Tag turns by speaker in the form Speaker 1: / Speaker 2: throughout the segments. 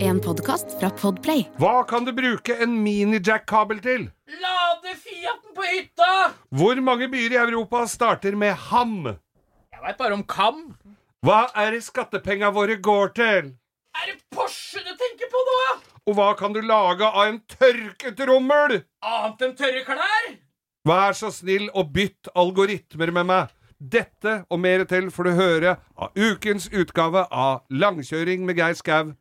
Speaker 1: En podkast fra Podplay.
Speaker 2: Hva kan du bruke en mini-jack-kabel til?
Speaker 3: Lade Fiaten på hytta!
Speaker 2: Hvor mange byer i Europa starter med ham?
Speaker 3: Jeg veit bare om kam.
Speaker 2: Hva er det skattepenga våre går til?
Speaker 3: Er det Porsche du tenker på nå?
Speaker 2: Og hva kan du lage av en tørket rommel?
Speaker 3: Annet enn tørre klær?
Speaker 2: Vær så snill og bytt algoritmer med meg. Dette og mer til får du høre av ukens utgave av Langkjøring med Geir Skau.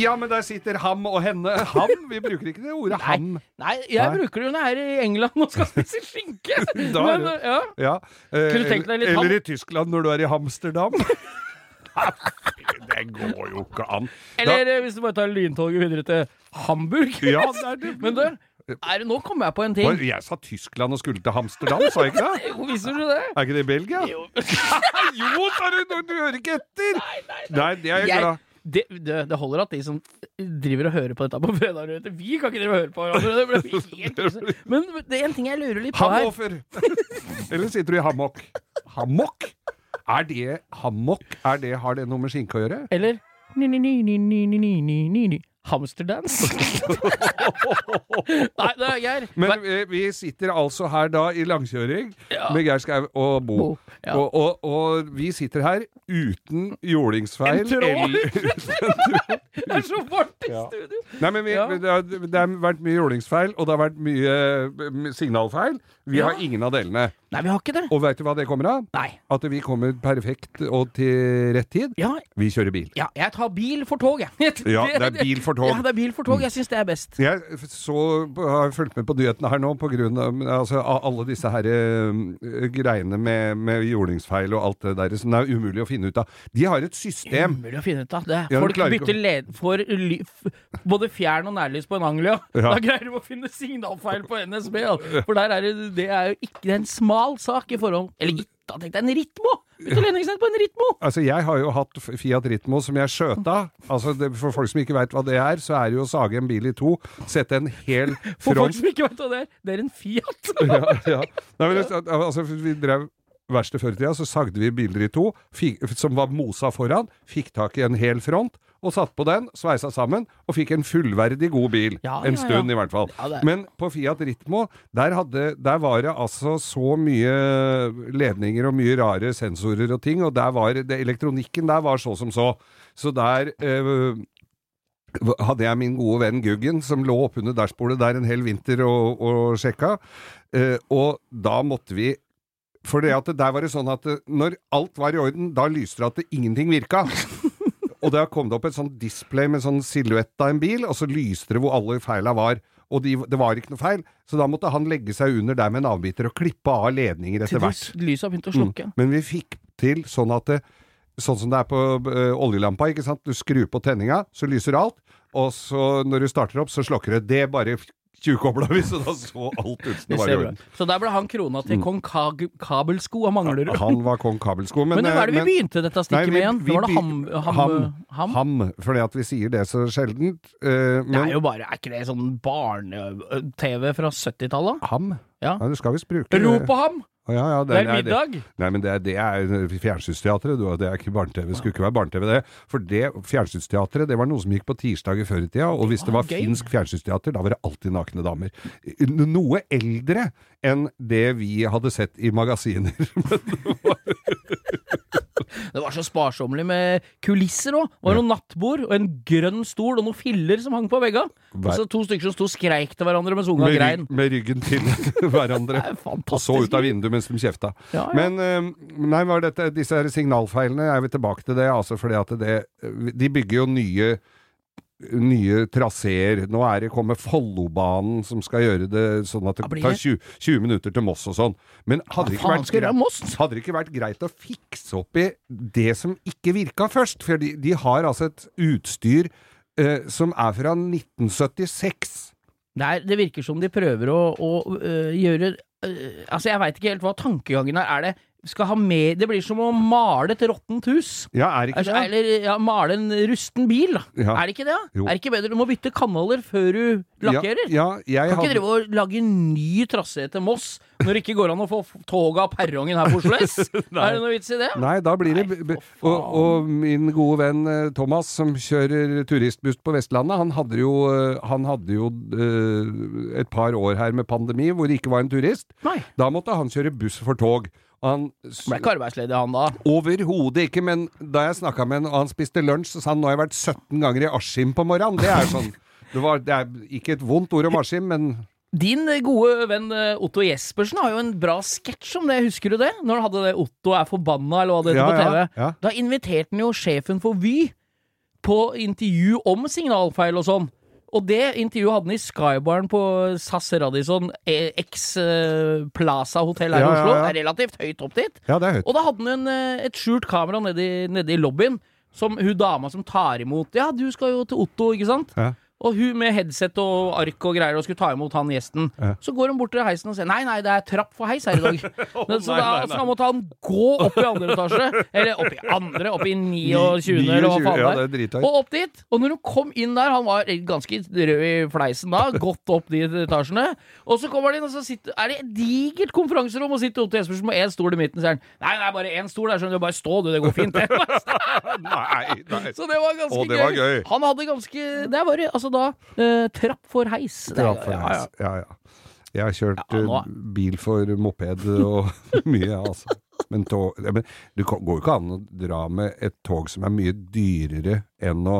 Speaker 2: Ja, men der sitter ham og henne. Ham? Vi bruker ikke det ordet ham.
Speaker 3: Nei, jeg
Speaker 2: Nei.
Speaker 3: bruker det jo når jeg er i England og skal spise skinke.
Speaker 2: Da er
Speaker 3: Men,
Speaker 2: det-
Speaker 3: ja.
Speaker 2: Ja. eh,
Speaker 3: Kunne du tenkt deg litt ham?
Speaker 2: eller i Tyskland når du er i Hamsterdam. det går jo ikke an.
Speaker 3: Eller eh, hvis du bare tar lyntoget videre til Hamburg.
Speaker 2: Ja, det er det.
Speaker 3: Men du, er det, nå kommer jeg på en ting.
Speaker 2: Hva- Jeg sa Tyskland og skulle til Hamsterdam, sa jeg ikke det?
Speaker 3: Jo, Visste du det?
Speaker 2: Er ikke det i Belgia? Jo, sa du! Du, du hører ikke etter! Nei, det er jeg
Speaker 3: Jeg-
Speaker 2: glad
Speaker 3: Det, det, det holder at de som driver og hører på dette på fredag, vi kan ikke drive og høre på hverandre. Det blir helt krise. Men det er en ting jeg lurer litt på her.
Speaker 2: Hamoffer! Eller sitter du i hammock? Hammock? Er det hammock? Er det, har det noe med skinke å gjøre?
Speaker 3: Eller ni, ni, ni, ni, ni, ni, ni, ni, ni, ni. Hamsterdance. Nei, det er Geir.
Speaker 2: Men
Speaker 3: Hva-
Speaker 2: eh, vi sitter altså her da i langkjøring
Speaker 3: Ja.
Speaker 2: med Geir Skau og Bo.
Speaker 3: Bo, ja.
Speaker 2: og, og, og vi sitter her uten jordingsfeil.
Speaker 3: En tråd.
Speaker 2: eller-
Speaker 3: det er så varmt i
Speaker 2: Ja.
Speaker 3: studio!
Speaker 2: Nei, men vi,
Speaker 3: Ja.
Speaker 2: det, har, det har vært mye jordingsfeil, og det har vært mye eh, signalfeil. Vi
Speaker 3: Ja.
Speaker 2: har ingen av delene.
Speaker 3: Nei, vi har ikke det.
Speaker 2: Og veit du hva det kommer av?
Speaker 3: Nei.
Speaker 2: At vi kommer perfekt og til rett tid.
Speaker 3: Ja,
Speaker 2: Vi kjører bil.
Speaker 3: ja, jeg tar bil for tog, jeg.
Speaker 2: Ja, det er bil for tog.
Speaker 3: Ja, det er bil for tog. Jeg syns det er best.
Speaker 2: Jeg f- så, har fulgt med på nyhetene her nå på grunn av, altså, av alle disse her, eh, greiene med, med jordingsfeil og alt det der som det er umulig å finne ut av. De har et system.
Speaker 3: Umulig å finne ut av. Det. er-
Speaker 2: Ja, du
Speaker 3: Folk
Speaker 2: klarer ikke
Speaker 3: bytter led for ly f både fjern- og nærlys på en Anglia.
Speaker 2: Ja.
Speaker 3: Da greier de å finne signalfeil på NSB. da. For der er det, det er jo ikke det er en smal sak i forhold Eller gitt, da tenkte jeg en Ritmo! Bytte ledningsnett på en Ritmo!
Speaker 2: Altså, jeg har jo hatt F- Fiat Ritmo som jeg skjøt av. Altså, det, for folk som ikke veit hva det er, så er det jo å sage en bil i to, sette en hel
Speaker 3: For folk
Speaker 2: front
Speaker 3: som ikke vet hva det er, det er en Fiat!
Speaker 2: ja, ja. Nei, men, det- altså, vi drev verste før i tida, så sagde vi biler i to, fikk, som var mosa foran, fikk tak i en hel front, og satt på den, sveisa sammen, og fikk en fullverdig god bil.
Speaker 3: Ja,
Speaker 2: en
Speaker 3: ja, ja.
Speaker 2: stund, i hvert fall.
Speaker 3: Ja, det er-
Speaker 2: Men på Fiat Ritmo, der, hadde, der var det altså så mye ledninger og mye rare sensorer og ting, og der var det, elektronikken der var så som så. Så der eh, hadde jeg min gode venn Guggen, som lå oppunder dashbordet der en hel vinter og, og sjekka. Eh, og da måtte vi For det at det der var det sånn at eh, når alt var i orden, da lyste det at det ingenting virka. og da kom det opp et sånt display med sånn silhuett av en bil, og så lyste det hvor alle feila var. Og de, det var ikke noe feil, så da måtte han legge seg under der med en avbiter og klippe av ledninger
Speaker 3: Til
Speaker 2: etter hvert. Mm.
Speaker 3: lyset har begynt å slukke.
Speaker 2: Men vi fikk til sånn at det, Sånn som det er på eh, oljelampa, ikke sant? Du skrur på tenninga, så lyser alt, og så når du starter opp, så slokker det. Det bare tjukobla vi, så da så alt ut som
Speaker 3: Det
Speaker 2: det var i
Speaker 3: ser bra
Speaker 2: orden. Mm.
Speaker 3: ut. Så der ble han krona til kong Kag Kabelsko av Manglerud.
Speaker 2: Han var kong Kabelsko, men
Speaker 3: men hva er det
Speaker 2: eh,
Speaker 3: vi
Speaker 2: men-
Speaker 3: begynte dette stikket
Speaker 2: Nei, vi-
Speaker 3: med igjen?
Speaker 2: vi
Speaker 3: Det var det ham,
Speaker 2: begyn-
Speaker 3: ham, ham?
Speaker 2: ham, ham, fordi at vi sier det så sjeldent. eh,
Speaker 3: Det er
Speaker 2: men
Speaker 3: jo bare Er ikke det sånn barne-TV fra 70-tallet?
Speaker 2: ham?
Speaker 3: Ja.
Speaker 2: Ja, du skal visst bruke
Speaker 3: Ro på ham!
Speaker 2: Ja, ja,
Speaker 3: Det
Speaker 2: nei,
Speaker 3: er
Speaker 2: det-
Speaker 3: middag!
Speaker 2: Nei, men det, er- det er fjernsynsteatret, du, og det er ikke barne-TV. Det skulle ikke være barne-TV, det. For det fjernsynsteatret, det var noe som gikk på tirsdager før i tida, og hvis det
Speaker 3: var
Speaker 2: var
Speaker 3: Ah, gøy.
Speaker 2: finsk fjernsynsteater, da var det alltid nakne damer. Noe eldre enn det vi hadde sett i magasiner.
Speaker 3: Det var så sparsommelig med kulisser òg. Det var noen nattbord og en grønn stol og noen filler som hang på veggene. Og så to stykker som sto og skreik til hverandre mens unga
Speaker 2: Med,
Speaker 3: grein.
Speaker 2: rygg- med ryggen til hverandre.
Speaker 3: Det er
Speaker 2: Og
Speaker 3: fantastisk.
Speaker 2: så ut av vinduet mens de kjefta.
Speaker 3: Ja, ja.
Speaker 2: Men eh, nei, var dette, disse her signalfeilene Jeg vil tilbake til det, altså, fordi at det De bygger jo nye Nye traseer. Nå er det kommer Follobanen som skal gjøre det sånn at det
Speaker 3: Da blir
Speaker 2: tar
Speaker 3: det-
Speaker 2: 20, 20 minutter til Moss og sånn. Men hadde det ikke
Speaker 3: faen
Speaker 2: vært
Speaker 3: skulle det
Speaker 2: greit-
Speaker 3: være Moss?
Speaker 2: hadde det ikke vært greit å fikse opp i det som ikke virka først? For de, de har altså et utstyr eh, som er fra 1976.
Speaker 3: Det, er, det virker som de prøver å, å øh, gjøre øh, Altså, jeg veit ikke helt hva tankegangen er. Er det skal ha med Det blir som å male et råttent hus.
Speaker 2: Ja, er ikke
Speaker 3: Altså,
Speaker 2: det?
Speaker 3: Eller ja, male en rusten bil, da.
Speaker 2: Ja.
Speaker 3: Er det ikke det? da?
Speaker 2: Jo.
Speaker 3: Er det ikke bedre? Du må bytte kanaler før du lakkerer.
Speaker 2: Ja, ja, jeg
Speaker 3: Kan ikke
Speaker 2: hadde,
Speaker 3: drive og lage ny trasé til Moss når det ikke går an å få f- toget av perrongen her på Oslo S? er det noe vits i det?
Speaker 2: Nei, da blir det
Speaker 3: Nei, for
Speaker 2: og, og min gode venn eh, Thomas, som kjører turistbuss på Vestlandet, han hadde jo, eh, han hadde jo eh, et par år her med pandemi hvor det ikke var en turist.
Speaker 3: Nei.
Speaker 2: Da måtte han kjøre buss for tog. Og Han s-
Speaker 3: Ble ikke arbeidsledig, han da.
Speaker 2: Overhodet ikke, men da jeg snakka med han og han spiste lunsj, så sa han nå har jeg vært 17 ganger i Askim på morgenen. Det er sånn det, var, det er ikke et vondt ord om Askim, men
Speaker 3: Din gode venn eh, Otto Jespersen har jo en bra sketsj om det, husker du det? Når han hadde det 'Otto er forbanna', eller hva det heter
Speaker 2: Ja,
Speaker 3: på TV.
Speaker 2: ja, ja.
Speaker 3: Da inviterte han jo sjefen for Vy på intervju om signalfeil og sånn. Og det intervjuet hadde han i Skybaren på SAS Radisson eh, X eh, Plaza hotell her
Speaker 2: Ja,
Speaker 3: i
Speaker 2: ja,
Speaker 3: Oslo.
Speaker 2: ja.
Speaker 3: Det er relativt høyt opp dit.
Speaker 2: Ja, det er høyt.
Speaker 3: Og da hadde han en, eh, et skjult kamera nede i, nede i lobbyen, som hun dama som tar imot Ja, du skal jo til Otto, ikke sant?
Speaker 2: Ja.
Speaker 3: Og hun med headset og ark og greier og skulle ta imot han gjesten.
Speaker 2: Ja.
Speaker 3: Så går hun bort til heisen og sier nei, nei, det er trapp for heis her i dag. Men så
Speaker 2: nei,
Speaker 3: da
Speaker 2: nei, nei.
Speaker 3: så da måtte han gå opp i andre etasje. Eller opp i andre, opp i 29. eller hva
Speaker 2: 29,
Speaker 3: faen
Speaker 2: ja,
Speaker 3: det er.
Speaker 2: det er drithøyt.
Speaker 3: Og opp dit. Og når hun kom inn der, han var ganske rød i fleisen da, godt opp de etasjene. Og så kommer han inn, og så sitter, er det et digert konferanserom, og sitter Otto Jespersen på én stol i midten, sier han. Nei, det er bare én stol der, skjønner du. Bare stå, du. Det går fint, det.
Speaker 2: Nei, nei.
Speaker 3: Så det var ganske
Speaker 2: Å, det var
Speaker 3: gøy.
Speaker 2: gøy.
Speaker 3: Han hadde ganske Det var altså da eh, trapp for heis. Det er-
Speaker 2: Trapp for heis. Ja, ja. Jeg har kjørt
Speaker 3: Ja, nå-
Speaker 2: eh, bil for moped og mye, altså. Men, tog, ja, men du kan- går jo ikke an å dra med et tog som er mye dyrere enn å,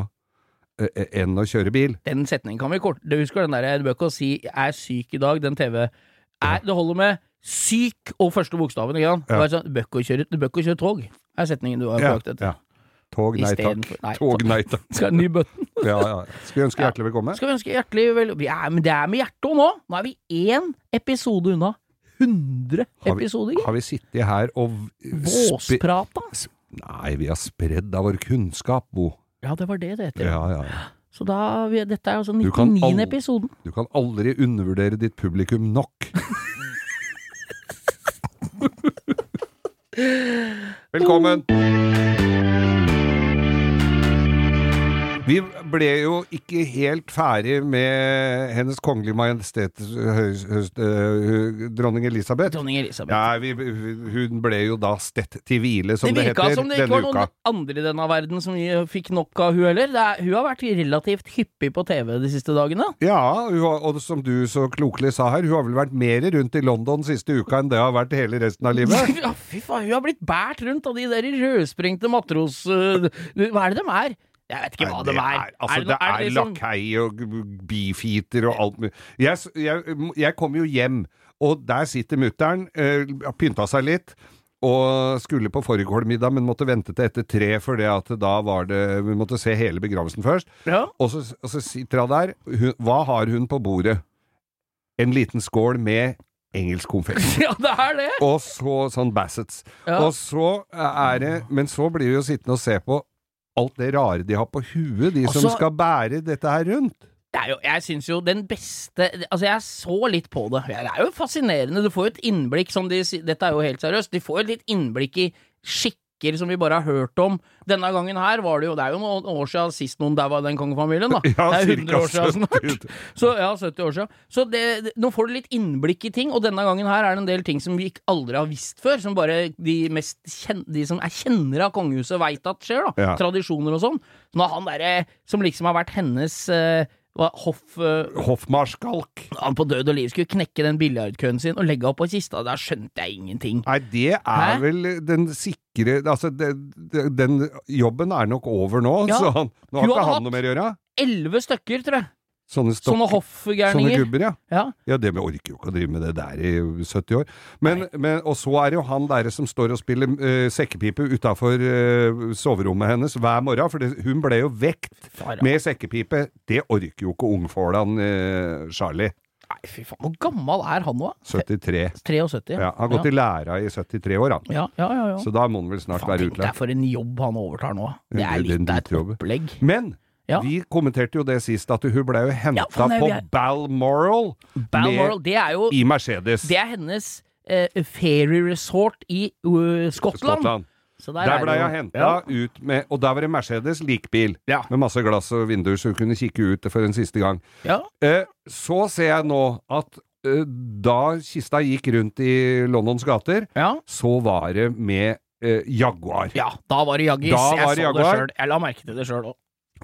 Speaker 2: eh, enn å kjøre bil.
Speaker 3: Den setningen kan vi kort Du husker den derre Du bør ikke å si 'er syk i dag', den TV. Er, det holder med 'syk' og første bokstaven. Ikke sant?
Speaker 2: Ja.
Speaker 3: Bare sånn, du, bør ikke å kjøre, du bør ikke å kjøre tog, er setningen du har
Speaker 2: Ja,
Speaker 3: på jakt etter.
Speaker 2: ja. Tog, nei takk.
Speaker 3: Istedenfor- nei,
Speaker 2: Tog,
Speaker 3: takk.
Speaker 2: nei takk.
Speaker 3: Skal ha ny button.
Speaker 2: Ja, ja. Skulle ønske
Speaker 3: Ja.
Speaker 2: hjertelig velkommen.
Speaker 3: Skal vi ønske hjertelig vel... Vi er, men det er med hjertet òg nå! Nå er vi én episode unna 100
Speaker 2: Har vi-
Speaker 3: episoder. gitt.
Speaker 2: Har vi sittet her og spe-
Speaker 3: Båsprat, da.
Speaker 2: sp- Nei, vi har spredd av vår kunnskap, Bo.
Speaker 3: Ja, det var det det heter.
Speaker 2: Ja, ja, ja.
Speaker 3: Så da vi, Dette er altså
Speaker 2: Du kan
Speaker 3: 99.
Speaker 2: al-
Speaker 3: episoden.
Speaker 2: Du kan aldri undervurdere ditt publikum nok. Velkommen! Vi ble jo ikke helt ferdig med Hennes Kongelige Majestet høys, høys, øh, dronning Elisabeth.
Speaker 3: Dronning Elisabeth.
Speaker 2: Ja, vi, hun ble jo da stett til hvile, som
Speaker 3: det
Speaker 2: det,
Speaker 3: virka
Speaker 2: heter,
Speaker 3: som det
Speaker 2: denne
Speaker 3: ikke var
Speaker 2: uka.
Speaker 3: noen andre i denne verden som vi fikk nok av hun heller. Det er, hun har vært relativt hyppig på TV de siste dagene.
Speaker 2: Ja, hun har, og som du så klokelig sa her, hun har vel vært mer rundt i London siste uka enn det har vært hele resten av livet.
Speaker 3: Ja, fy faen, hun har blitt båret rundt av de der rødsprengte matros... øh, hva er det de er? Jeg vet ikke hva de er.
Speaker 2: altså,
Speaker 3: no-
Speaker 2: det er,
Speaker 3: liksom-
Speaker 2: lakei og beefeater og alt mulig. Jeg, s- jeg, jeg kom jo hjem, og der sitter mutter'n, eh, pynta seg litt. Og skulle på fårikålmiddag, men måtte vente til etter tre, for det at da var det Vi måtte se hele begravelsen først.
Speaker 3: Ja.
Speaker 2: Og så, og så sitter hun der. Hun, hva har hun på bordet? En liten skål med engelsk konfekt.
Speaker 3: ja, det er det.
Speaker 2: Og så sånn Bassets.
Speaker 3: Ja.
Speaker 2: Og så er det Men så blir vi jo sittende og se på alt det rare de har på huet, de som
Speaker 3: Altså-
Speaker 2: skal bære dette her rundt.
Speaker 3: det er jo, jeg syns jo den beste Altså, jeg så litt på det. Det er jo fascinerende. Du får jo et innblikk, som de sier Dette er jo helt seriøst. De får jo et litt innblikk i skikker som vi bare har hørt om. Denne gangen her var det jo Det er jo noen år siden sist noen daua i den kongefamilien, da.
Speaker 2: Ja,
Speaker 3: det er
Speaker 2: cirka
Speaker 3: 100 år siden
Speaker 2: 70
Speaker 3: snart. Så, ja, 70 år siden. Så det, det, nå får du litt innblikk i ting, og denne gangen her er det en del ting som vi ikke aldri har visst før, som bare de, mest kjen, de som er kjennere av kongehuset, veit at skjer, da.
Speaker 2: Ja.
Speaker 3: Tradisjoner og sånn. Så når han derre som liksom har vært hennes eh, hva, hoff... Eh,
Speaker 2: Hoffmarskalk.
Speaker 3: han på død og liv skulle knekke den biljardkøen sin og legge opp på kista, der skjønte jeg ingenting.
Speaker 2: Nei, det er
Speaker 3: Hæ?
Speaker 2: vel den sikre Altså, det, det, den jobben er nok over nå,
Speaker 3: Ja.
Speaker 2: så han, nå har
Speaker 3: Hun
Speaker 2: ikke
Speaker 3: har
Speaker 2: han noe mer å gjøre.
Speaker 3: Elleve stykker, tror jeg.
Speaker 2: Sånne,
Speaker 3: Sånne
Speaker 2: stokk- sånne
Speaker 3: hoffgærninger.
Speaker 2: gubber, ja.
Speaker 3: Ja.
Speaker 2: Ja, det vi orker jo ikke å drive med det der i 70 år. Men, men, og så er det jo han der som står og spiller eh, sekkepipe utafor soverommet hennes hver morgen, for det, hun ble jo vekt
Speaker 3: Fara.
Speaker 2: med sekkepipe. Det orker jo ikke ungfålan eh, Charlie.
Speaker 3: Nei, fy faen, hvor gammel er han nå? da?
Speaker 2: 73.
Speaker 3: 73.
Speaker 2: Ja, han har gått i læra i 73 år, han.
Speaker 3: ja, ja, ja, ja.
Speaker 2: Så da må han vel snart
Speaker 3: Faen,
Speaker 2: være
Speaker 3: tenk deg
Speaker 2: utlært.
Speaker 3: for en jobb han overtar nå. Det
Speaker 2: Det-
Speaker 3: er
Speaker 2: det er en
Speaker 3: litt det er et
Speaker 2: dritjobb.
Speaker 3: opplegg.
Speaker 2: Men
Speaker 3: Ja.
Speaker 2: vi kommenterte jo det sist, at hun ble jo henta
Speaker 3: Ja, faen, det er
Speaker 2: på
Speaker 3: jo jeg-
Speaker 2: Balmoral,
Speaker 3: Balmoral,
Speaker 2: med,
Speaker 3: det er jo
Speaker 2: i Mercedes.
Speaker 3: Det er hennes eh, Fairy Resort i eh, Skottland.
Speaker 2: Skottland.
Speaker 3: Så
Speaker 2: Der,
Speaker 3: er
Speaker 2: ble
Speaker 3: det jo-
Speaker 2: jeg henta ut med Og der var det Mercedes likbil
Speaker 3: Ja.
Speaker 2: med masse glass og vinduer, så hun kunne kikke ut for en siste gang.
Speaker 3: Ja.
Speaker 2: Eh, så ser jeg nå at eh, da kista gikk rundt i Londons gater,
Speaker 3: ja.
Speaker 2: så var det med eh, Jaguar.
Speaker 3: Ja, da var det Jaggis.
Speaker 2: Da
Speaker 3: Jeg
Speaker 2: var det
Speaker 3: så det
Speaker 2: Jaguar.
Speaker 3: sjøl. Jeg la merke til det sjøl òg.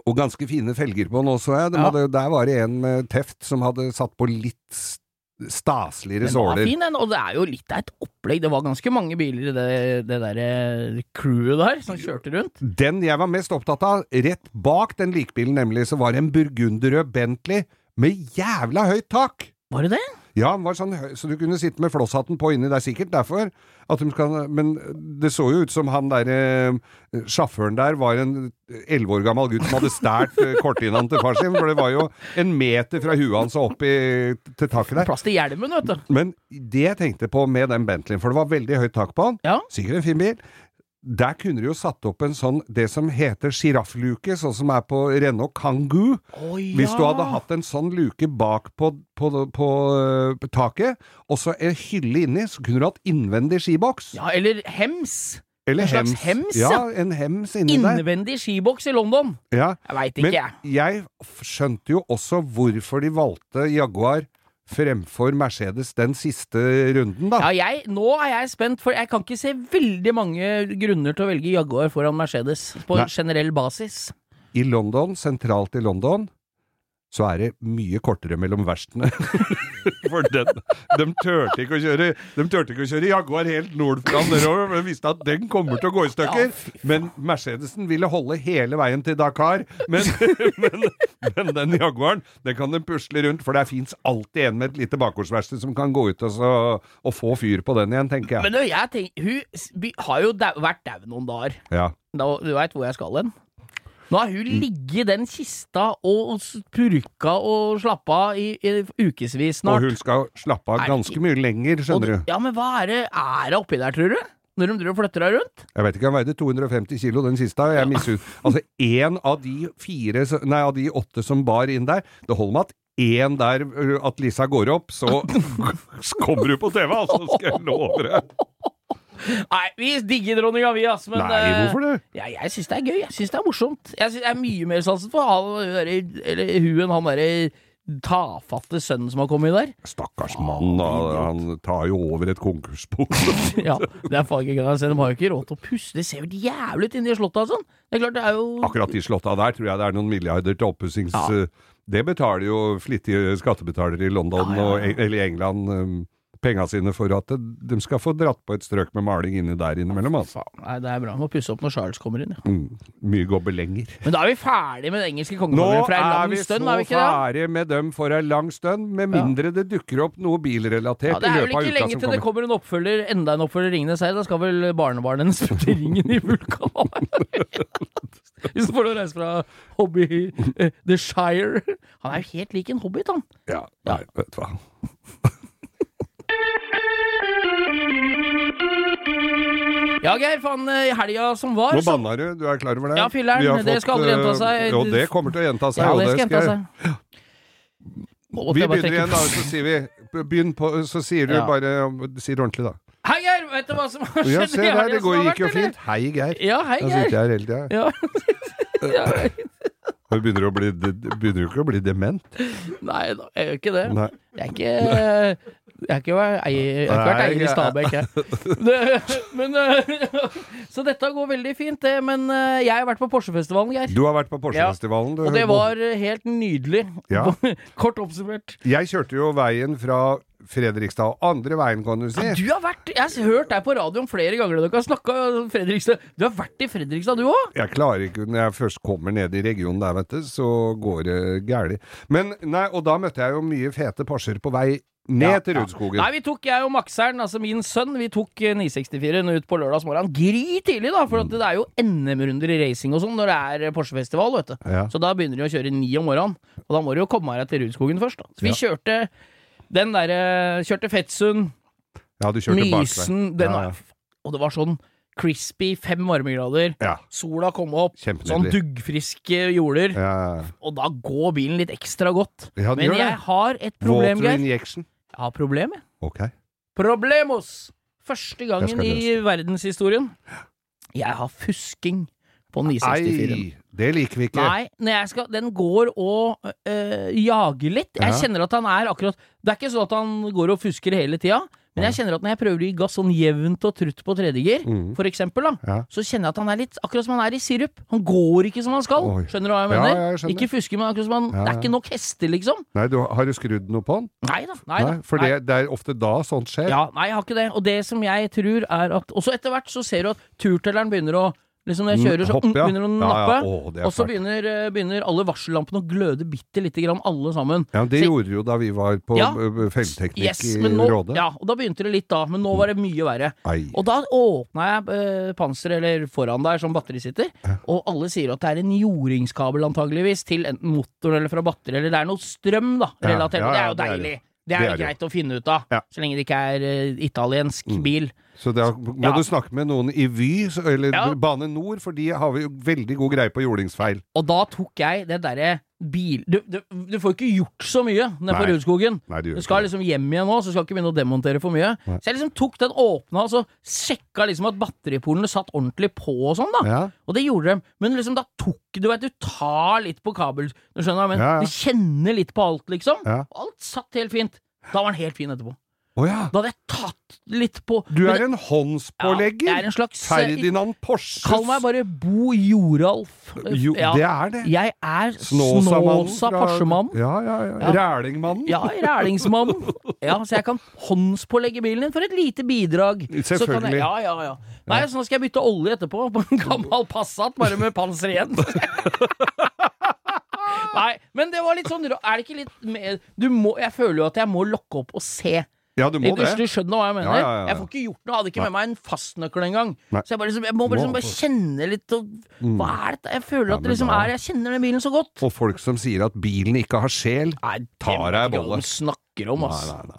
Speaker 2: Og ganske fine felger på den også, jeg. De
Speaker 3: Ja.
Speaker 2: hadde, der var det en med teft som hadde satt på litt s- staseligere
Speaker 3: Den var
Speaker 2: såler.
Speaker 3: fin, den. Og det er jo litt av et opplegg. Det var ganske mange biler i det, det derre crewet der som kjørte rundt.
Speaker 2: Den jeg var mest opptatt av, rett bak den likbilen nemlig, så var det en burgunderrød Bentley med jævla høyt tak!
Speaker 3: Var det det?
Speaker 2: Ja, den var sånn høy, så du kunne sitte med flosshatten på inni. Det er sikkert derfor. At de skal, men det så jo ut som han der eh, sjåføren der var en elleve år gammel gutt som hadde stjålet eh, kortdynaen til far sin, for det var jo en meter fra huet hans og opp i, til taket der.
Speaker 3: Plass til hjelmen, vet du.
Speaker 2: Men det jeg tenkte på med den Bentleyen, for det var veldig høyt tak på den,
Speaker 3: Ja.
Speaker 2: sikkert en fin bil, der kunne du jo satt opp en sånn, det som heter sjiraffluke, sånn som er på Renault Kangoo.
Speaker 3: Oh, ja.
Speaker 2: Hvis du hadde hatt en sånn luke bak på, på, på, øh, på taket, og så en hylle inni, så kunne du hatt innvendig skiboks.
Speaker 3: Ja, eller hems.
Speaker 2: Eller
Speaker 3: en slags hems,
Speaker 2: ja.
Speaker 3: ja.
Speaker 2: en hems inni der.
Speaker 3: Innvendig skiboks i London.
Speaker 2: Ja.
Speaker 3: Jeg veit
Speaker 2: Men
Speaker 3: ikke, jeg.
Speaker 2: jeg f- skjønte jo også hvorfor de valgte Jaguar fremfor Mercedes den siste runden, da.
Speaker 3: Ja, jeg, nå er jeg spent, for jeg kan ikke se veldig mange grunner til å velge Jaguar foran Mercedes på
Speaker 2: Nei.
Speaker 3: generell basis.
Speaker 2: I London, sentralt i London, så er det mye kortere mellom verstene. For den, de turte ikke å kjøre De turte ikke å kjøre Jaguar helt nordfra nedover, men visste at den kommer til å gå i
Speaker 3: Ja,
Speaker 2: stykker. Men Mercedesen ville holde hele veien til Dakar. Men, men, men den Jaguaren, den kan de pusle rundt, for der fins alltid en med et lite bakgårdsverksted som kan gå ut og, så, og få fyr på den igjen, tenker jeg.
Speaker 3: Men du, jeg tenker, hun s- by- har jo dau- vært dau noen dager.
Speaker 2: Ja.
Speaker 3: Da, du veit hvor jeg skal hen. Nå har
Speaker 2: Mm.
Speaker 3: hun ligget i den kista og purka og slappa av i, i ukevis
Speaker 2: Og
Speaker 3: snart.
Speaker 2: hun skal slappe av ganske mye lenger,
Speaker 3: Og
Speaker 2: skjønner du.
Speaker 3: ja, men hva er det er det oppi der, tror du? Når de driver og flytter deg rundt?
Speaker 2: Jeg vet ikke, han veide 250 kilo den siste, og jeg misunner Altså, én av de fire s- Nei, av de åtte som bar inn der Det holder med at én der ø, At Lisa går opp, så kommer du på TV, altså, skal jeg love deg!
Speaker 3: Nei, vi digger dronninga, vi, ass. Men
Speaker 2: Nei,
Speaker 3: eh,
Speaker 2: hvorfor det?
Speaker 3: Ja, jeg syns det er gøy. Jeg syns det er morsomt. Jeg synes jeg er mye mer sansen for han derre Eller huen, han derre tafatte sønnen som har kommet der.
Speaker 2: Stakkars mann, da, han tar jo over et konkursbo.
Speaker 3: Ja, det er faen ikke greit. De har jo ikke råd til å pusse. Det ser jo helt jævlig ut inni slottet og sånn. Det er klart, det er jo
Speaker 2: Akkurat de slotta der tror jeg det er noen milliarder til oppussings...
Speaker 3: Ja.
Speaker 2: ø, Det betaler jo flittige skattebetalere i London
Speaker 3: Ja, ja, ja.
Speaker 2: og Eng- eller England ø, penga sine for at de skal få dratt på et strøk med maling inni der innimellom, altså.
Speaker 3: Nei, det er bra. Må pusse opp når Charles kommer inn, ja.
Speaker 2: Mye gobbelenger.
Speaker 3: Men da er vi ferdig med den engelske
Speaker 2: Nå
Speaker 3: kongefamilien fra en
Speaker 2: er
Speaker 3: lang
Speaker 2: vi
Speaker 3: stund,
Speaker 2: så
Speaker 3: er vi ikke det?
Speaker 2: ferdig med dem for ei lang stund, med mindre det dukker opp noe bilrelatert
Speaker 3: Ja,
Speaker 2: i
Speaker 3: det er vel
Speaker 2: løpet av
Speaker 3: ikke
Speaker 2: uka
Speaker 3: lenge
Speaker 2: som
Speaker 3: til det
Speaker 2: kommer.
Speaker 3: kommer en oppfølger, enda en oppfølger Ringenes herre. Da skal vel barnebarnet hennes putte ringen i vulkanen. Hvis du får lov å reise fra Hobby eh, The Shire. Han er jo helt lik en hobbit, han.
Speaker 2: Ja, nei, vet du hva.
Speaker 3: Ja, Geir, faen, eh, i helga som var
Speaker 2: Nå
Speaker 3: så-
Speaker 2: banna du, du er klar over det?
Speaker 3: Ja, fylleren,
Speaker 2: Vi har
Speaker 3: det skal aldri gjenta seg.
Speaker 2: øh, Jo, det kommer til å gjenta seg.
Speaker 3: Ja,
Speaker 2: og
Speaker 3: det skal hente
Speaker 2: jeg-
Speaker 3: seg. Måtte
Speaker 2: Vi
Speaker 3: jeg bare
Speaker 2: begynner
Speaker 3: trekke
Speaker 2: igjen, da, så sier vi Begynn på Så sier du
Speaker 3: Ja.
Speaker 2: bare Si det ordentlig, da.
Speaker 3: Hei, Geir! Vet du hva som har skjedd?
Speaker 2: Ja,
Speaker 3: i
Speaker 2: se der,
Speaker 3: helga
Speaker 2: det
Speaker 3: som
Speaker 2: går,
Speaker 3: har
Speaker 2: gikk jo
Speaker 3: vært, eller?
Speaker 2: fint. Hei, Geir.
Speaker 3: Ja, hei,
Speaker 2: Jeg sitter
Speaker 3: Geir.
Speaker 2: her hele tida.
Speaker 3: Ja. ja.
Speaker 2: Du begynner jo å bli- du begynner jo ikke å bli dement.
Speaker 3: Nei da, jeg gjør ikke det.
Speaker 2: Nei.
Speaker 3: Jeg er ikke Jeg har ikke vært eier, jeg har ikke vært
Speaker 2: Nei,
Speaker 3: eier i
Speaker 2: jeg-
Speaker 3: Stabæk, jeg. Det, men, eh, så dette går veldig fint, det. Men eh, jeg har vært på Porsche-festivalen, Geir.
Speaker 2: Du har vært på Porsgrunnsfestivalen, du.
Speaker 3: Og det
Speaker 2: Høgmo.
Speaker 3: var eh, helt nydelig.
Speaker 2: Ja.
Speaker 3: Kort oppsummert.
Speaker 2: Jeg kjørte jo veien fra Fredrikstad, andre veien kan du si.
Speaker 3: Ah, Du har vært Jeg har hørt deg på radioen flere ganger. Dere har snakka om Fredrikstad. Du har vært i Fredrikstad, du òg?
Speaker 2: Jeg klarer ikke, når jeg først kommer ned i regionen der, vet du, så går det gærlig. Men, nei, og da møtte jeg jo mye fete Porscher på vei ned
Speaker 3: Ja,
Speaker 2: til Rudskogen.
Speaker 3: Nei, vi tok, jeg og Makseren, altså min sønn, vi tok eh, 964-en ut på lørdagsmorgenen. Gry tidlig, da, for at det er jo NM-runder i racing og sånn når det er eh, Porsche-festival, vet du.
Speaker 2: Ja.
Speaker 3: Så da begynner de å kjøre ni om morgenen, og da må du jo komme her til Rudskogen først, da. Så vi kjørte den derre Kjørte Fettsund,
Speaker 2: Ja, du kjørte bakveien.
Speaker 3: Mysen, den
Speaker 2: Ja, ja.
Speaker 3: var Og det var sånn crispy, fem varmegrader,
Speaker 2: Ja.
Speaker 3: sola kom opp, sånn
Speaker 2: Kjempenydelig.
Speaker 3: duggfriske jorder,
Speaker 2: Ja.
Speaker 3: og da går bilen litt ekstra godt.
Speaker 2: Ja, den gjør
Speaker 3: Men
Speaker 2: det.
Speaker 3: jeg har et problem,
Speaker 2: Water
Speaker 3: Geir.
Speaker 2: injection.
Speaker 3: Jeg har problem, jeg.
Speaker 2: Ok.
Speaker 3: Problemos! Første gangen
Speaker 2: skal
Speaker 3: i verdenshistorien jeg har fusking på 964-en.
Speaker 2: Ei, det liker vi ikke.
Speaker 3: Nei, når jeg skal, den går og øh, jager litt. Jeg
Speaker 2: Ja.
Speaker 3: kjenner at han er akkurat Det er ikke sånn at han går og fusker hele tida, men jeg kjenner at når jeg prøver å gi gass sånn jevnt og trutt på tredjegir,
Speaker 2: Mm.
Speaker 3: for eksempel, da,
Speaker 2: Ja.
Speaker 3: så kjenner jeg at han er litt akkurat som han er i sirup. Han går ikke som han skal.
Speaker 2: Oi.
Speaker 3: Skjønner du hva jeg
Speaker 2: Ja,
Speaker 3: mener?
Speaker 2: ja, jeg skjønner.
Speaker 3: ikke fusker, men akkurat som han
Speaker 2: Ja, ja.
Speaker 3: Det er ikke nok hester, liksom.
Speaker 2: Nei, du, har du skrudd noe på den?
Speaker 3: Nei da. Nei, da.
Speaker 2: for det, det er ofte da sånt skjer.
Speaker 3: Ja, nei, jeg har ikke det. Og det som jeg tror er at Og så etter hvert så ser du at turtelleren begynner å Liksom Når jeg kjører, så
Speaker 2: Hopp, Mm, ja.
Speaker 3: begynner den å
Speaker 2: Ja,
Speaker 3: nappe.
Speaker 2: ja. Å, det er
Speaker 3: og så
Speaker 2: fælt.
Speaker 3: begynner, eh, begynner alle varsellampene å gløde bitte lite grann, alle sammen.
Speaker 2: Ja, men Det
Speaker 3: Så-
Speaker 2: gjorde jo da vi var på
Speaker 3: Ja.
Speaker 2: eh, feilteknikk
Speaker 3: Yes,
Speaker 2: i
Speaker 3: men nå,
Speaker 2: Råde. Mm.
Speaker 3: ja, og da begynte det litt da, men nå var det mye verre.
Speaker 2: Ei.
Speaker 3: Og da åpna jeg eh, panseret, eller foran der, som batterisitter, og alle sier at det er en jordingskabel antageligvis, til enten motoren eller fra batteri, eller det er noe strøm, da,
Speaker 2: Ja, ja,
Speaker 3: relatert. og det
Speaker 2: ja,
Speaker 3: er jo
Speaker 2: det er
Speaker 3: deilig.
Speaker 2: det.
Speaker 3: Det er
Speaker 2: Det er
Speaker 3: jo
Speaker 2: det
Speaker 3: greit å finne ut av,
Speaker 2: Ja. Mm.
Speaker 3: så lenge det ikke er eh, italiensk bil.
Speaker 2: Så da må
Speaker 3: Ja.
Speaker 2: du snakke med noen i Vy, så- eller
Speaker 3: Ja.
Speaker 2: Bane Nor, for de har jo veldig god greie på jordingsfeil.
Speaker 3: Og da tok jeg det derre bil... Du, du, du får ikke gjort så mye nede på
Speaker 2: Nei.
Speaker 3: Rudskogen.
Speaker 2: Nei, de gjør
Speaker 3: Du
Speaker 2: ikke
Speaker 3: skal
Speaker 2: det.
Speaker 3: liksom hjem igjen nå, så skal ikke begynne å demontere for mye.
Speaker 2: Nei.
Speaker 3: Så jeg liksom tok den åpna, og så sjekka liksom at batteripolene satt ordentlig på og sånn, da.
Speaker 2: Ja.
Speaker 3: Og det gjorde de. Men liksom da tok Du vet, du tar litt på kabel, du skjønner hva jeg mener?
Speaker 2: Ja, ja.
Speaker 3: Du kjenner litt på alt, liksom.
Speaker 2: Ja.
Speaker 3: Og Alt satt helt fint. Da var den helt fin etterpå.
Speaker 2: Å ja.
Speaker 3: Da hadde jeg tatt litt på
Speaker 2: Du
Speaker 3: Men
Speaker 2: er
Speaker 3: det-
Speaker 2: en håndspålegger!
Speaker 3: Ja, jeg er en slags- eh,
Speaker 2: Ferdinand Porsches
Speaker 3: Kall meg bare Bo Joralf.
Speaker 2: Jo,
Speaker 3: Ja.
Speaker 2: det er det.
Speaker 3: Jeg er
Speaker 2: Snåsamannen
Speaker 3: Snåsa
Speaker 2: fra-
Speaker 3: Porsemannen.
Speaker 2: Ja, ja, ja. Rælingmannen.
Speaker 3: Ja, Rælingsmannen. Ja, så jeg kan håndspålegge bilen din for et lite bidrag. Så kan
Speaker 2: Selvfølgelig.
Speaker 3: jeg, ja, ja, ja. Nei, så nå skal jeg bytte olje etterpå, på en gammel Passat, bare med panser igjen. Nei, men det var litt sånn ra- Er det ikke litt mer Du må Jeg føler jo at jeg må lokke opp og se.
Speaker 2: Ja, du må
Speaker 3: Hvis du
Speaker 2: det.
Speaker 3: skjønner hva jeg mener?
Speaker 2: Ja, ja, ja.
Speaker 3: Jeg får ikke gjort noe. Jeg hadde ikke med meg en fastnøkkel engang.
Speaker 2: Nei.
Speaker 3: Så jeg, bare, liksom, jeg må bare,
Speaker 2: Må Mm.
Speaker 3: liksom, bare kjenne litt og, Hva er dette? Jeg føler
Speaker 2: Ja,
Speaker 3: at
Speaker 2: men
Speaker 3: det liksom
Speaker 2: da-
Speaker 3: er Jeg kjenner den bilen så godt.
Speaker 2: Og folk som sier at bilen ikke har sjel.
Speaker 3: Nei, det
Speaker 2: Tar
Speaker 3: vet
Speaker 2: deg
Speaker 3: ikke hva
Speaker 2: bolle.
Speaker 3: de snakker om, ass.
Speaker 2: Nei, nei, nei.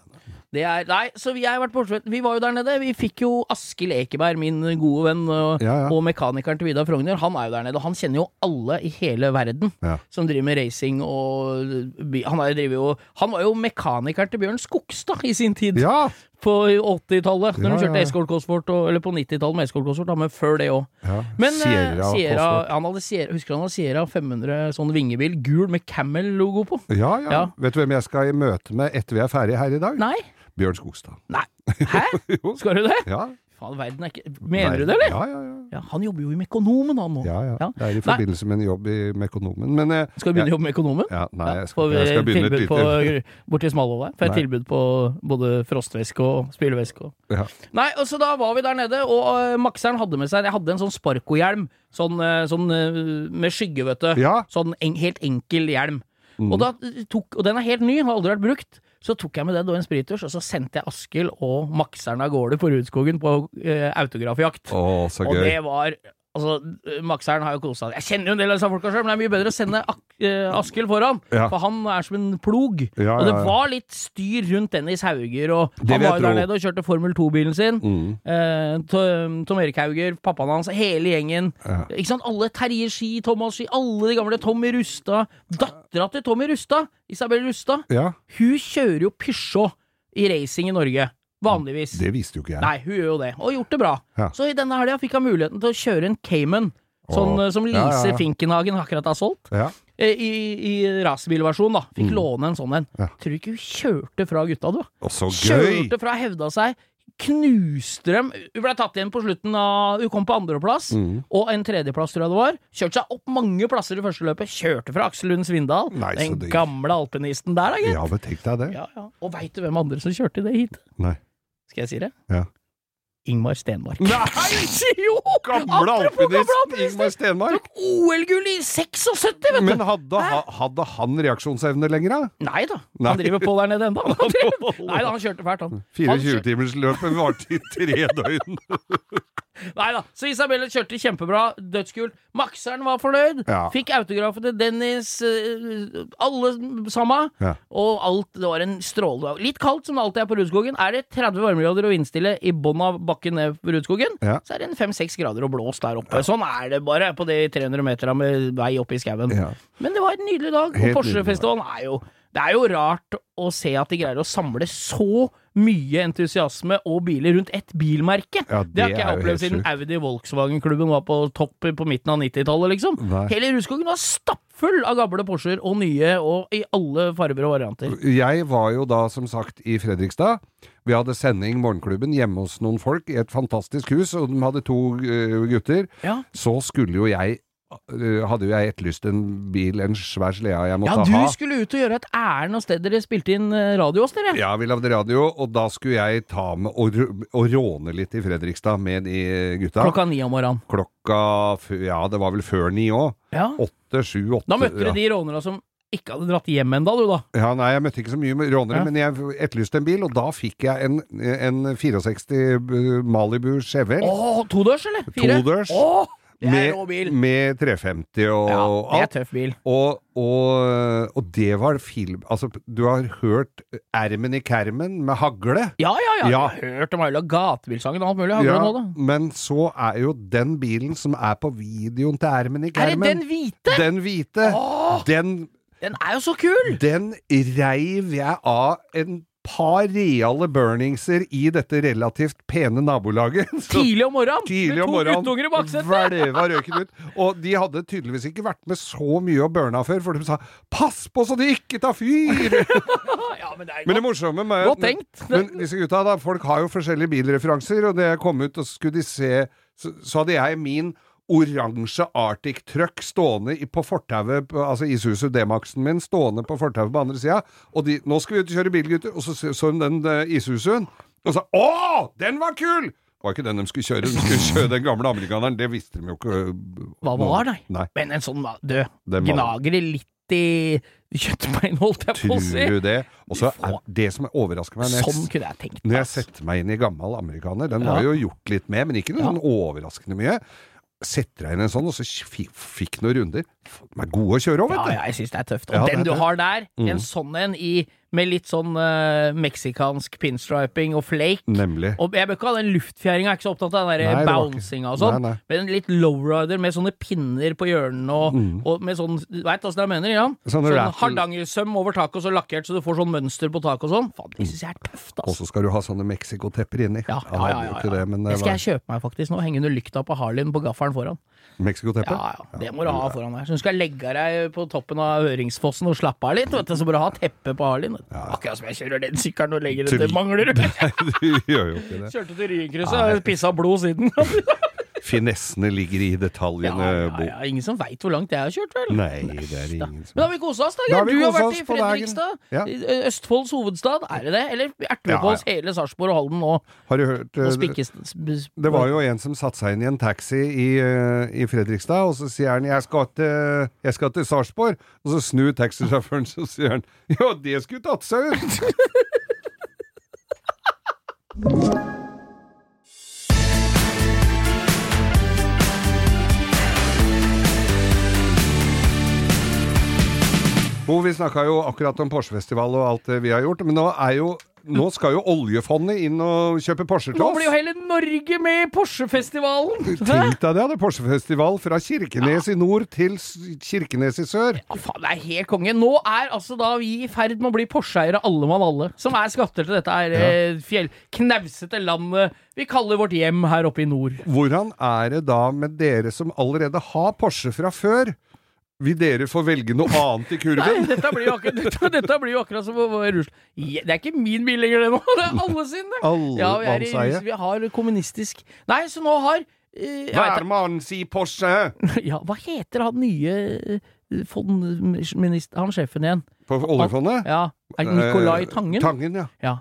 Speaker 3: Det er, nei, så vi har vært borte Vi var jo der nede. Vi fikk jo Askild Ekeberg, min gode venn, og,
Speaker 2: Ja, ja.
Speaker 3: og mekanikeren til Vidar Frogner. Han er jo der nede, og han kjenner jo alle i hele verden
Speaker 2: Ja.
Speaker 3: som driver med racing og bi- Han, er, jo driver jo, han var jo mekanikeren til Bjørn Skogstad i sin tid,
Speaker 2: Ja!
Speaker 3: på 80-tallet, når
Speaker 2: Ja,
Speaker 3: de
Speaker 2: ja,
Speaker 3: kjørte
Speaker 2: ja.
Speaker 3: Escort Cosworth, og- eller på 90-tallet med Escort Cosworth, da, men før det òg.
Speaker 2: ja.
Speaker 3: Men eh,
Speaker 2: Sierra
Speaker 3: Sierra,
Speaker 2: Cosworth.
Speaker 3: han hadde Sierra, husker han hadde Sierra 500 sånn vingebil, gul med Camel-logo på?
Speaker 2: Ja, ja,
Speaker 3: Ja.
Speaker 2: Vet du hvem jeg skal i møte med etter vi er ferdig her i dag?
Speaker 3: Nei?
Speaker 2: Bjørn Skogstad.
Speaker 3: Nei? Hæ?
Speaker 2: Jo.
Speaker 3: Skal du det?
Speaker 2: Ja.
Speaker 3: Faen, verden er ikke Mener du det, eller?
Speaker 2: Ja, ja, ja.
Speaker 3: Ja, han jobber jo i Mekonomen, han nå.
Speaker 2: ja, ja.
Speaker 3: Ja.
Speaker 2: Det er i forbindelse med en jobb i Mekonomen. Men eh,
Speaker 3: Skal du begynne å jobbe med Økonomen?
Speaker 2: Ja, nei, jeg
Speaker 3: Får
Speaker 2: skal,
Speaker 3: vi
Speaker 2: jeg skal begynne et
Speaker 3: tilbud på,
Speaker 2: lite
Speaker 3: borti Smalhova? Får jeg
Speaker 2: Nei.
Speaker 3: tilbud på både frostvæske og spylevæske og
Speaker 2: ja.
Speaker 3: Nei, og så da var vi der nede, og øh, makseren hadde med seg Jeg hadde en sånn sparkohjelm, sånn, øh, sånn øh, med skygge, vet du.
Speaker 2: Ja.
Speaker 3: Sånn en, helt enkel hjelm.
Speaker 2: Mm.
Speaker 3: Og, da eh, tok, og den er helt ny, har aldri vært brukt. Så tok jeg med den og en sprittusj, og så sendte jeg Askild og makseren av gårde på Rudskogen på øh, autografjakt.
Speaker 2: Å, så
Speaker 3: Og
Speaker 2: gøy.
Speaker 3: det var Altså, Makseren har jo kosa seg. Jeg kjenner jo en del av disse folka sjøl, men det er mye bedre å sende Ak- eh, Askild foran,
Speaker 2: Ja.
Speaker 3: for han er som en plog.
Speaker 2: Ja,
Speaker 3: Og det
Speaker 2: ja, ja.
Speaker 3: var litt styr rundt Dennis Hauger, og
Speaker 2: Det
Speaker 3: han
Speaker 2: vil jeg
Speaker 3: var jo der
Speaker 2: tro.
Speaker 3: nede og kjørte Formel 2-bilen sin.
Speaker 2: Mm.
Speaker 3: Eh, To- Tom Erik Hauger, pappaen hans, hele gjengen.
Speaker 2: Ja.
Speaker 3: Ikke sant? Alle Terje Ski, Thomas Ski, alle de gamle Tommy Rustad. Dattera til Tommy Rustad, Isabel Rustad,
Speaker 2: Ja,
Speaker 3: hun kjører jo Peugeot i racing i Norge. Vanligvis.
Speaker 2: det visste jo ikke jeg.
Speaker 3: Nei, hun gjør jo det, og gjort det bra.
Speaker 2: Ja.
Speaker 3: Så i denne helga fikk han muligheten til å kjøre en Cayman, sånn
Speaker 2: Åh.
Speaker 3: eh, som Lise
Speaker 2: Ja, ja, ja.
Speaker 3: Finkenhagen akkurat har solgt,
Speaker 2: Ja.
Speaker 3: eh, i, i racerbilversjon, da. Fikk låne en sånn en.
Speaker 2: Mm. Ja.
Speaker 3: Tror du ikke hun kjørte fra gutta, du?
Speaker 2: Å, så gøy!
Speaker 3: Kjørte fra, hevda seg. Knuste dem. Hun ble tatt igjen på slutten av Hun kom på andreplass,
Speaker 2: Mm.
Speaker 3: og en tredjeplass, tror jeg det var. Kjørte seg opp mange plasser i første løpet. Kjørte fra Aksel Lund Svindal.
Speaker 2: Nei, så
Speaker 3: den
Speaker 2: digg.
Speaker 3: gamle alpinisten der, da, gitt.
Speaker 2: Ja, men tenk deg det.
Speaker 3: Ja, ja. Og veit du hvem andre som kjørte i det heatet?
Speaker 2: Nei.
Speaker 3: Skal jeg si det?
Speaker 2: Ja.
Speaker 3: Ingmar Stenmark.
Speaker 2: Nei!
Speaker 3: Jo!
Speaker 2: Gamle
Speaker 3: Apropos gamle
Speaker 2: alpinisten
Speaker 3: alpinist!
Speaker 2: Ingmar Stenmark.
Speaker 3: Tok OL-gull i 76, vet du!
Speaker 2: Men hadde, ha- hadde han reaksjonsevne lenger, da?
Speaker 3: Nei da,
Speaker 2: Nei.
Speaker 3: han driver på der nede ennå. Han driver- Nei da, han kjørte fælt, han. Han kjør-
Speaker 2: 24-timersløpet varte i tre døgn.
Speaker 3: Nei da, så Isabelle kjørte kjempebra, dødskult. Makseren var fornøyd.
Speaker 2: Ja.
Speaker 3: Fikk autografen til Dennis, eh, alle sammen.
Speaker 2: Ja.
Speaker 3: Og alt det var en strålende dag. Litt kaldt, som det alltid er på Rudskogen. Er det 30 varmegrader og vindstille i bånn av bakken ned på Rudskogen,
Speaker 2: Ja.
Speaker 3: så er det en 5-6 grader og blåst der oppe. Sånn er det bare på de 300 meterne med vei opp i skauen.
Speaker 2: Ja.
Speaker 3: Men det var en nydelig dag, og
Speaker 2: Helt nydelig
Speaker 3: Porsche-festivalen er jo Det er jo rart å se at de greier å samle så mye entusiasme og biler rundt ett bilmerke.
Speaker 2: Ja,
Speaker 3: det, har
Speaker 2: det
Speaker 3: ikke
Speaker 2: er
Speaker 3: jeg
Speaker 2: jo helt
Speaker 3: opplevd siden Audi Volkswagen-klubben var på topp på midten av 90-tallet, liksom.
Speaker 2: Nei.
Speaker 3: Hele Rudskogen var stappfull av gamle Porscher og nye, og i alle farger og varianter.
Speaker 2: Jeg var jo da som sagt i Fredrikstad. Vi hadde sending Morgenklubben hjemme hos noen folk i et fantastisk hus, og de hadde to eh, gutter.
Speaker 3: Ja,
Speaker 2: Så skulle jo jeg eh, Hadde jo jeg etterlyst en bil, en svær slede jeg
Speaker 3: ja
Speaker 2: måtte
Speaker 3: du
Speaker 2: ha.
Speaker 3: skulle ut og gjøre et ærend noe sted dere spilte inn eh, radio hos dere.
Speaker 2: Ja, vi lagde radio, og da skulle jeg ta med og, ru- og råne litt i Fredrikstad med de gutta.
Speaker 3: Klokka ni om morgenen.
Speaker 2: Klokka f- Ja, det var vel før ni òg.
Speaker 3: Ja.
Speaker 2: Åtte, sju, åtte.
Speaker 3: Da møtte
Speaker 2: ja.
Speaker 3: dere de rånerne som ikke hadde dratt hjem ennå, du da.
Speaker 2: Ja, nei, jeg møtte ikke så mye med rånere,
Speaker 3: Ja.
Speaker 2: men jeg etterlyste en bil, og da fikk jeg en, en 64 b- Malibu Chevelle.
Speaker 3: Åh, todørs, eller? Fire?
Speaker 2: Todørs.
Speaker 3: Åh, det er rå
Speaker 2: med,
Speaker 3: bil.
Speaker 2: med 350 og
Speaker 3: Ja, det er
Speaker 2: alt.
Speaker 3: tøff bil.
Speaker 2: Og, og, og det var film Altså, du har hørt Ermen i kermen med hagle.
Speaker 3: Ja, ja,
Speaker 2: Ja.
Speaker 3: ja. Jeg har hørt om hele gatebilsangen og alt mulig. Har du
Speaker 2: Ja,
Speaker 3: det nå, da?
Speaker 2: men så er jo den bilen som er på videoen til Ermen i
Speaker 3: Er det
Speaker 2: kermen
Speaker 3: den hvite?
Speaker 2: Den hvite.
Speaker 3: Åh,
Speaker 2: Den,
Speaker 3: den er jo så kul!
Speaker 2: den reiv jeg av en par reale burningser i dette relativt pene nabolaget. Så
Speaker 3: Tidlig om morgenen!
Speaker 2: tidlig om
Speaker 3: Med to guttunger i
Speaker 2: morgenen
Speaker 3: baksetet!
Speaker 2: hvelva røyken ut. Og de hadde tydeligvis ikke vært med så mye og burna før, for de sa 'pass på så de ikke tar fyr'!
Speaker 3: Ja, men det er
Speaker 2: Men det
Speaker 3: godt,
Speaker 2: morsomme med
Speaker 3: godt tenkt.
Speaker 2: Men disse gutta, da, folk har jo forskjellige bilreferanser, og det kom ut, og skulle de se Så, så hadde jeg min oransje Arctic Truck stående i, på fortauet, på- altså Isuzu D-Maxen min, stående på fortauet på andre sida, og de 'Nå skal vi ut og kjøre bil, gutter', og så så så hun den eh, Isuzu-en, og sa 'Å, den var kul!' Det var ikke den de skulle kjøre, de skulle kjøre den gamle amerikaneren, det visste de jo ikke. eh,
Speaker 3: Hva
Speaker 2: noen-
Speaker 3: var det?
Speaker 2: Nei,
Speaker 3: Men en sånn ma- død
Speaker 2: Den var-
Speaker 3: gnager det litt i kjøttbein, holdt jeg på å si.
Speaker 2: tror du det? Og så er
Speaker 3: Faen.
Speaker 2: det som overrasker meg når jeg
Speaker 3: Sånn kunne jeg tenkt.
Speaker 2: Når jeg
Speaker 3: ass.
Speaker 2: setter meg inn i gammel amerikaner, den
Speaker 3: Ja.
Speaker 2: var jo gjort litt med, men ikke noe
Speaker 3: Ja.
Speaker 2: sånn overraskende mye. Setter jeg inn en sånn, og så fikk, fikk noen runder. De er gode å kjøre òg,
Speaker 3: Ja,
Speaker 2: vet du.
Speaker 3: ja, jeg syns det er tøft. Og
Speaker 2: Ja, det er
Speaker 3: den du
Speaker 2: tøft.
Speaker 3: har der,
Speaker 2: Mm.
Speaker 3: en sånn en i, med litt sånn eh, meksikansk pinstriping og flake
Speaker 2: Nemlig.
Speaker 3: og jeg bør ikke ha den luftfjæringa, jeg er ikke så opptatt av den
Speaker 2: Nei,
Speaker 3: der
Speaker 2: det var ikke-
Speaker 3: bouncinga og sånn.
Speaker 2: Nei, nei.
Speaker 3: Men en litt lowrider med sånne pinner på hjørnene og,
Speaker 2: Mm.
Speaker 3: og med sånn Du veit åssen jeg mener, Jan?
Speaker 2: Sånn
Speaker 3: Sånn
Speaker 2: rattle.
Speaker 3: hardangersøm over taket og så lakkert så du får sånn mønster på taket og sånn. Faen, det syns jeg er tøft,
Speaker 2: Og
Speaker 3: ass.
Speaker 2: så skal du ha sånne Mexico-tepper inni.
Speaker 3: Ja,
Speaker 2: Jeg
Speaker 3: ja,
Speaker 2: hadde
Speaker 3: ja,
Speaker 2: jo
Speaker 3: ja,
Speaker 2: ikke
Speaker 3: ja.
Speaker 2: det, men eh,
Speaker 3: Det
Speaker 2: det
Speaker 3: skal
Speaker 2: var
Speaker 3: jeg kjøpe meg faktisk nå. Henge under lykta på Harlien på gaffelen foran.
Speaker 2: Mexico-teppe.
Speaker 3: Ja, ja, det må du ha foran deg. Så du skal legge deg på toppen av Høringsfossen og slappe av litt, vet du. Så må du ha teppe på Harlien. vet du. Akkurat som jeg kjører den sykkelen og legger den
Speaker 2: Til-
Speaker 3: til Manglerud.
Speaker 2: du gjør jo ikke det.
Speaker 3: Kjørte til Ryenkrysset og pissa blod siden. ja,
Speaker 2: Finessene ligger i detaljene,
Speaker 3: ja,
Speaker 2: Bo.
Speaker 3: ja, ingen som veit hvor langt jeg har kjørt, vel?
Speaker 2: Nei, det er ingen
Speaker 3: Men
Speaker 2: som
Speaker 3: har vi kosa oss, da?
Speaker 2: Da har vi
Speaker 3: du har
Speaker 2: koset
Speaker 3: vært i
Speaker 2: oss på dagen.
Speaker 3: Fredrikstad.
Speaker 2: Ja.
Speaker 3: i eh, Østfolds hovedstad, er det det? Eller erter
Speaker 2: Ja,
Speaker 3: vi på oss hele Sarpsborg og Halden og,
Speaker 2: Har du hørt
Speaker 3: og
Speaker 2: eh,
Speaker 3: spikkes...
Speaker 2: Det var jo en som satte seg inn i en taxi i, eh, i Fredrikstad, og så sier han 'jeg skal til, jeg skal til Sarpsborg', og så snur taxisjåføren, så sier han 'ja, det skulle tatt seg ut'. Bo, vi snakka jo akkurat om Porsche-festival og alt det vi har gjort, men nå er jo nå skal jo oljefondet inn og kjøpe Porscher til
Speaker 3: Nå
Speaker 2: oss.
Speaker 3: blir jo hele Norge med i Porsche-festivalen! Hæ?
Speaker 2: Tenk deg det, det Porsche-festival fra Kirkenes i nord til S- Kirkenes i sør.
Speaker 3: Ja, faen, det er helt konge. Nå er altså da vi i ferd med å bli Porsche-eiere, alle mann alle, som er skatter til dette her eh, fjell, knausete landet vi kaller vårt hjem her oppe i nord.
Speaker 2: Hvordan er det da med dere som allerede har Porsche fra før? Vil dere få velge noe annet i
Speaker 3: Nei,
Speaker 2: kurven?
Speaker 3: dette blir jo akkurat, dette, dette blir jo akkurat som å- å- Russland. Je- Det er ikke min bil lenger, det nå. Det er alle sin. det.
Speaker 2: Alle
Speaker 3: Ja, vi, er i,
Speaker 2: mannseie.
Speaker 3: Russ- vi har kommunistisk Nei, så nå har eh, jeg
Speaker 2: Hver
Speaker 3: vet,
Speaker 2: mann si Porsche!
Speaker 3: ikke- ja, Hva heter han nye eh, fondminister Han sjefen igjen.
Speaker 2: På oljefondet?
Speaker 3: Ja, er det Nicolai
Speaker 2: Eh,
Speaker 3: Tangen?
Speaker 2: Tangen, ja.
Speaker 3: Ja.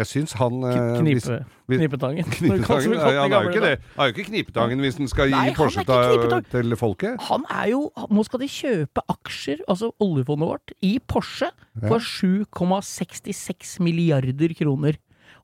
Speaker 2: Jeg syns han eh, hvis-
Speaker 3: Knipe,
Speaker 2: hvis-
Speaker 3: knipetangen.
Speaker 2: Knipetangen?
Speaker 3: Kalte vi
Speaker 2: Ja, han er jo
Speaker 3: gamle
Speaker 2: ikke
Speaker 3: da.
Speaker 2: det. Han er jo ikke Knipetangen hvis han skal
Speaker 3: Nei,
Speaker 2: gi
Speaker 3: han er
Speaker 2: Porsche
Speaker 3: ikke Knipetang.
Speaker 2: til, til folket.
Speaker 3: Han er jo Nå skal de kjøpe aksjer, altså oljefondet vårt, i Porsche for 7,66 milliarder kroner.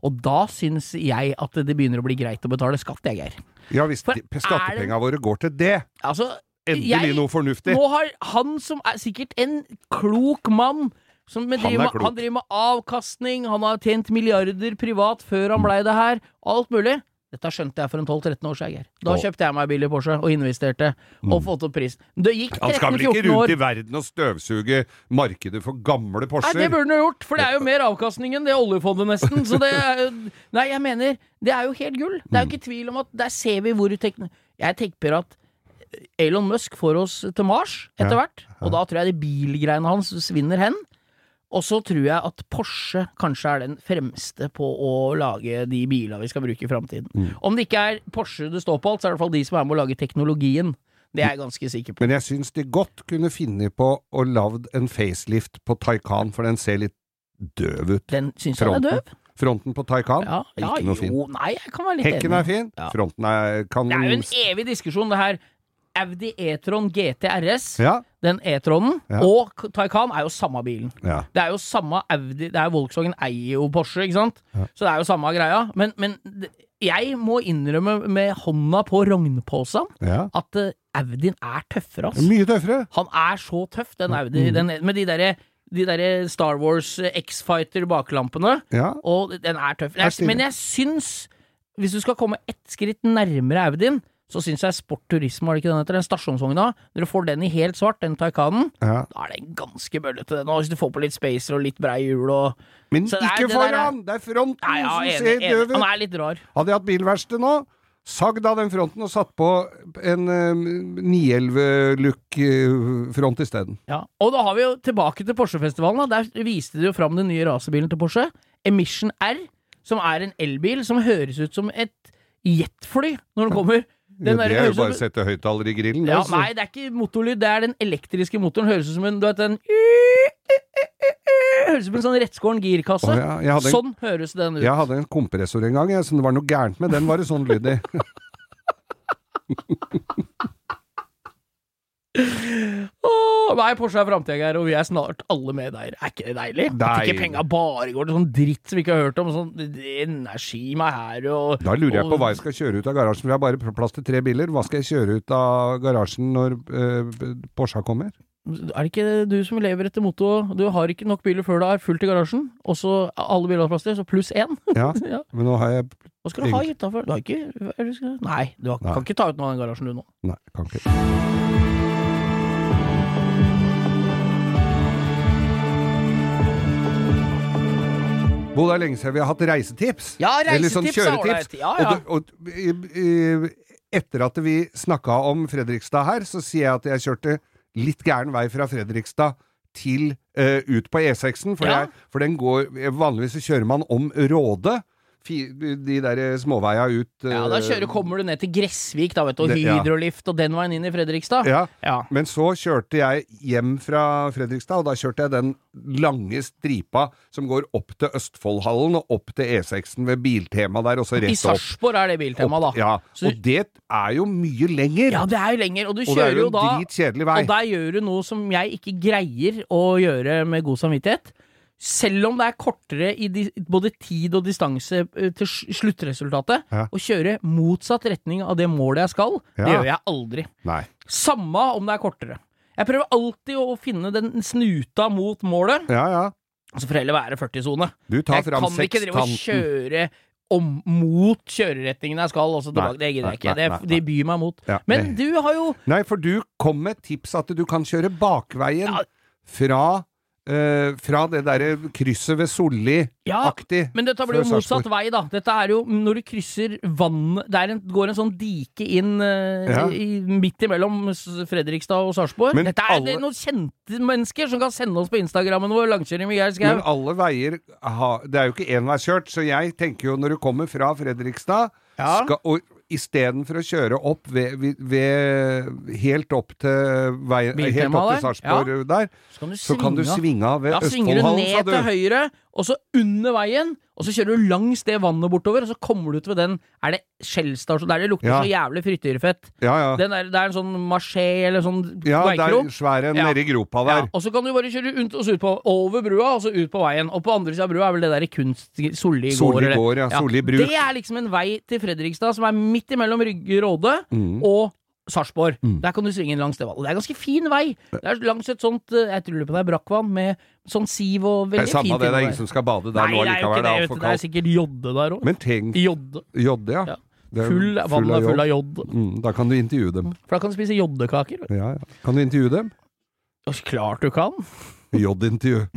Speaker 3: Og da syns jeg at det begynner å bli greit å betale skatt, jeg, Geir.
Speaker 2: Ja, hvis
Speaker 3: For
Speaker 2: de-
Speaker 3: er det-
Speaker 2: skattepenga våre går til det.
Speaker 3: Altså,
Speaker 2: Endelig
Speaker 3: Jeg-
Speaker 2: noe fornuftig.
Speaker 3: nå har han som er sikkert en klok mann som med
Speaker 2: Han er
Speaker 3: driver, med-
Speaker 2: klok.
Speaker 3: han driver med avkastning, han har tjent milliarder privat før han blei det her, alt mulig. Dette skjønte jeg for en 12-13 år siden, Geir. Da
Speaker 2: Å.
Speaker 3: kjøpte jeg meg billig Porsche og investerte, og fått opp prisen. Det gikk
Speaker 2: Mm. Han skal vel ikke
Speaker 3: 13-14
Speaker 2: rundt
Speaker 3: år.
Speaker 2: i verden og støvsuge markedet for gamle
Speaker 3: Nei, det
Speaker 2: Porscher?
Speaker 3: burde han jo gjort, for det er jo mer avkastning enn det oljefondet, nesten. Så det er jo Nei, jeg mener, det er jo helt gull. Det
Speaker 2: Mm.
Speaker 3: er jo ikke tvil om at der ser vi hvor tekn... Jeg tenker at eh, Elon Musk får oss til Mars etter
Speaker 2: Ja.
Speaker 3: hvert, og da tror jeg de bilgreiene hans svinner hen. Og så tror jeg at Porsche kanskje er den fremste på å lage de bilene vi skal bruke i framtiden.
Speaker 2: Mm.
Speaker 3: Om det ikke er Porsche det står på alt, så er det i hvert fall de som er med å lage teknologien. Det er jeg ganske sikker på.
Speaker 2: Men jeg syns de godt kunne finne på å lagd en facelift på Taycan, for den ser litt døv ut.
Speaker 3: Den syns han er
Speaker 2: Fronten,
Speaker 3: døv.
Speaker 2: fronten på Taycan
Speaker 3: Ja,
Speaker 2: er
Speaker 3: ja,
Speaker 2: ikke noe fin.
Speaker 3: jo, nei, jeg kan være litt
Speaker 2: Hekken
Speaker 3: enig.
Speaker 2: er fin,
Speaker 3: Ja.
Speaker 2: fronten er kan
Speaker 3: Det er jo en evig diskusjon, det her. Audi E-tron GT RS,
Speaker 2: Ja,
Speaker 3: den E-tronen,
Speaker 2: Ja.
Speaker 3: og K- Taycan er jo samme bilen.
Speaker 2: ja.
Speaker 3: Det er jo samme Audi Det er Volkswagen eier jo Porsche, ikke sant? Så det er jo samme greia. Men, men d- jeg må innrømme med hånda på rognposen
Speaker 2: ja.
Speaker 3: at eh, Audien er tøffere, ass.
Speaker 2: Mye tøffere.
Speaker 3: Han er så tøff, den Audi,
Speaker 2: mm.
Speaker 3: den, med de derre de der Star Wars eh, X-Fighter baklampene.
Speaker 2: Ja.
Speaker 3: Og den er tøff.
Speaker 2: Er
Speaker 3: Jeg,
Speaker 2: stilig.
Speaker 3: men jeg syns, hvis du skal komme ett skritt nærmere Audien, så syns jeg Sport Turismo, er det ikke den heter, den stasjonsvogna, dere får den i helt svart, den Taycanen,
Speaker 2: ja.
Speaker 3: da er den ganske bøllete, den, og hvis du får på litt spacer og litt brei hjul og
Speaker 2: Men
Speaker 3: Så det er-
Speaker 2: ikke
Speaker 3: det der er-
Speaker 2: foran! Det er fronten
Speaker 3: Nei, ja,
Speaker 2: som
Speaker 3: enig,
Speaker 2: ser
Speaker 3: enig.
Speaker 2: døv
Speaker 3: Han
Speaker 2: ut.
Speaker 3: er litt rar.
Speaker 2: Hadde jeg hatt bilverksted nå, sagd av den fronten og satt på en eh, 911-look-front isteden.
Speaker 3: Ja. Og da har vi jo tilbake til Porsche-festivalen. da. Der viste de jo fram den nye racerbilen til Porsche. Emission R, som er en elbil som høres ut som et jetfly når den kommer.
Speaker 2: Ja, det
Speaker 3: Den der
Speaker 2: er jo
Speaker 3: høres ut-
Speaker 2: bare å sette høyttaler i grillen.
Speaker 3: ja,
Speaker 2: altså.
Speaker 3: Nei, det er ikke motorlyd, det er den elektriske motoren. Høres ut som en du vet, den Høres ut som en sånn rettskåren girkasse.
Speaker 2: Å, ja, jeg hadde en-
Speaker 3: Sånn høres den ut.
Speaker 2: Jeg hadde en kompressor en gang jeg, som det var noe gærent med. Den var det sånn lyd i.
Speaker 3: Åh, nei, Porsche er framtida, Geir, og vi er snart alle medeiere. Er ikke det deilig? At
Speaker 2: Deilig.
Speaker 3: ikke penga bare går til sånn dritt som vi ikke har hørt om. Sånn energi meg her og
Speaker 2: Da lurer jeg på
Speaker 3: og-
Speaker 2: hva jeg skal kjøre ut av garasjen. For jeg har bare plass til tre biler. Hva skal jeg kjøre ut av garasjen når uh, Porscha kommer?
Speaker 3: Er det ikke du som lever etter mottoet 'du har ikke nok biler før det er fullt i garasjen', og så alle biler har plass til, så pluss én?
Speaker 2: Ja,
Speaker 3: ja.
Speaker 2: men nå har jeg
Speaker 3: Hva skal du ha utafor? Du har ikke hva er det du skal- Nei, du har,
Speaker 2: Nei.
Speaker 3: kan ikke ta ut noe av den garasjen du nå.
Speaker 2: Nei, kan ikke. Bo, det er lenge siden vi har hatt reisetips.
Speaker 3: Ja,
Speaker 2: Eller sånn
Speaker 3: reisetips er
Speaker 2: kjøretips.
Speaker 3: ålreit. Ja, ja.
Speaker 2: Og, du- og i, i, etter at vi snakka om Fredrikstad her, så sier jeg at jeg kjørte litt gæren vei fra Fredrikstad til eh, ut på E6-en, for,
Speaker 3: Ja.
Speaker 2: jeg- for den går Vanligvis så kjører man om Råde. Fi, de der småveia ut
Speaker 3: Ja, da kjører,
Speaker 2: eh,
Speaker 3: kommer du ned til Gressvik, da, vet du, og
Speaker 2: Det- ja.
Speaker 3: hydrolift og den veien inn i Fredrikstad.
Speaker 2: Ja.
Speaker 3: Ja.
Speaker 2: Men så kjørte jeg hjem fra Fredrikstad, og da kjørte jeg den lange stripa som går opp til Østfoldhallen og opp til E6-en ved Biltema der, og så
Speaker 3: I
Speaker 2: rett opp.
Speaker 3: Sarpsborg er det biltema, da.
Speaker 2: Opp- Ja,
Speaker 3: Så-
Speaker 2: og det er jo mye lenger.
Speaker 3: Ja, det er jo lenger, og du
Speaker 2: og det
Speaker 3: kjører
Speaker 2: er jo
Speaker 3: jo
Speaker 2: en
Speaker 3: da
Speaker 2: dritkjedelig vei.
Speaker 3: Og der gjør du noe som jeg ikke greier å gjøre med god samvittighet. Selv om det er kortere i di både tid og distanse eh, til sl- sluttresultatet,
Speaker 2: Ja.
Speaker 3: å kjøre motsatt retning av det målet jeg skal, det
Speaker 2: Ja.
Speaker 3: gjør jeg aldri.
Speaker 2: Nei.
Speaker 3: Samme om det er kortere. Jeg prøver alltid å finne den snuta mot målet,
Speaker 2: Ja, ja.
Speaker 3: altså for heller være 40-sone.
Speaker 2: Du tar
Speaker 3: Jeg
Speaker 2: fram
Speaker 3: kan ikke drive og
Speaker 2: sekstanten.
Speaker 3: kjøre om, mot kjøreretningen jeg skal, altså tilbake. Det gidder jeg
Speaker 2: nei,
Speaker 3: ikke. Det,
Speaker 2: nei, nei.
Speaker 3: de byr meg mot.
Speaker 2: Ja,
Speaker 3: Men
Speaker 2: det-
Speaker 3: du har jo
Speaker 2: Nei, for du kom med et tips at du kan kjøre bakveien
Speaker 3: Ja.
Speaker 2: fra, eh, fra det derre krysset ved
Speaker 3: Ja,
Speaker 2: Solli-aktig.
Speaker 3: Men dette blir jo
Speaker 2: Før
Speaker 3: motsatt
Speaker 2: Sarpsborg.
Speaker 3: vei, da. Dette er jo når du krysser vannet Det er en, går en sånn dike inn eh,
Speaker 2: Ja.
Speaker 3: i, midt imellom S- Fredrikstad og Sarpsborg.
Speaker 2: Men
Speaker 3: Dette er
Speaker 2: alle-
Speaker 3: det er noen kjente mennesker som kan sende oss på Instagrammen vår langkjøring med Geir
Speaker 2: Men
Speaker 3: Skau.
Speaker 2: alle veier ha, Det er jo ikke enveiskjørt, så jeg tenker jo når du kommer fra Fredrikstad
Speaker 3: Ja.
Speaker 2: skal, og Istedenfor å kjøre opp ved, ved, ved Helt opp til veien
Speaker 3: Biltema
Speaker 2: Helt opp
Speaker 3: der.
Speaker 2: til Sarpsborg der,
Speaker 3: Så kan du
Speaker 2: så kan du
Speaker 3: svinge av.
Speaker 2: svinge av ved
Speaker 3: Da svinger du
Speaker 2: Østfoldhallen, sa
Speaker 3: ned til
Speaker 2: du.
Speaker 3: høyre, og så under veien, og så kjører du langs det vannet bortover, og så kommer du ut ved den Er det Skjellstasjon? Der det lukter
Speaker 2: Ja.
Speaker 3: så jævlig frityrfett.
Speaker 2: Ja, ja.
Speaker 3: Den er, det er en sånn maché eller sånn
Speaker 2: ja det
Speaker 3: veikrok.
Speaker 2: er svær en
Speaker 3: Ja.
Speaker 2: nede i gropa
Speaker 3: Ja,
Speaker 2: der.
Speaker 3: og så kan du bare kjøre rundt og så ut på, over brua, og så ut på veien. Og på andre sida av brua er vel det der kunst... Solli gård,
Speaker 2: Solli
Speaker 3: eller-
Speaker 2: gård, ja. Solli bruk.
Speaker 3: Det er liksom en vei til Fredrikstad som er midt imellom Rygge Råde
Speaker 2: Mm.
Speaker 3: og Sarpsborg. Der kan du svinge inn langs det vallet. Det er en ganske fin vei. Det er langs et sånt eh, Jeg tror det på det er brakkvann med sånn siv og
Speaker 2: Det
Speaker 3: veldig
Speaker 2: er
Speaker 3: fint.
Speaker 2: samme det, det er
Speaker 3: innover.
Speaker 2: ingen som skal bade der nå
Speaker 3: Nei, det er jo
Speaker 2: likevel.
Speaker 3: ikke
Speaker 2: Det
Speaker 3: det.
Speaker 2: er
Speaker 3: vet
Speaker 2: altfor
Speaker 3: du. Det er
Speaker 2: kaldt.
Speaker 3: sikkert Jodde der òg.
Speaker 2: Men tenk
Speaker 3: Jodde.
Speaker 2: Jodde, ja.
Speaker 3: Ja.
Speaker 2: Det er
Speaker 3: Full, vann er full av jod.
Speaker 2: Mm, da kan du intervjue dem.
Speaker 3: For da kan du spise joddekaker.
Speaker 2: Ja, ja. Kan du intervjue dem?
Speaker 3: Og så klart du kan!
Speaker 2: Jodintervju.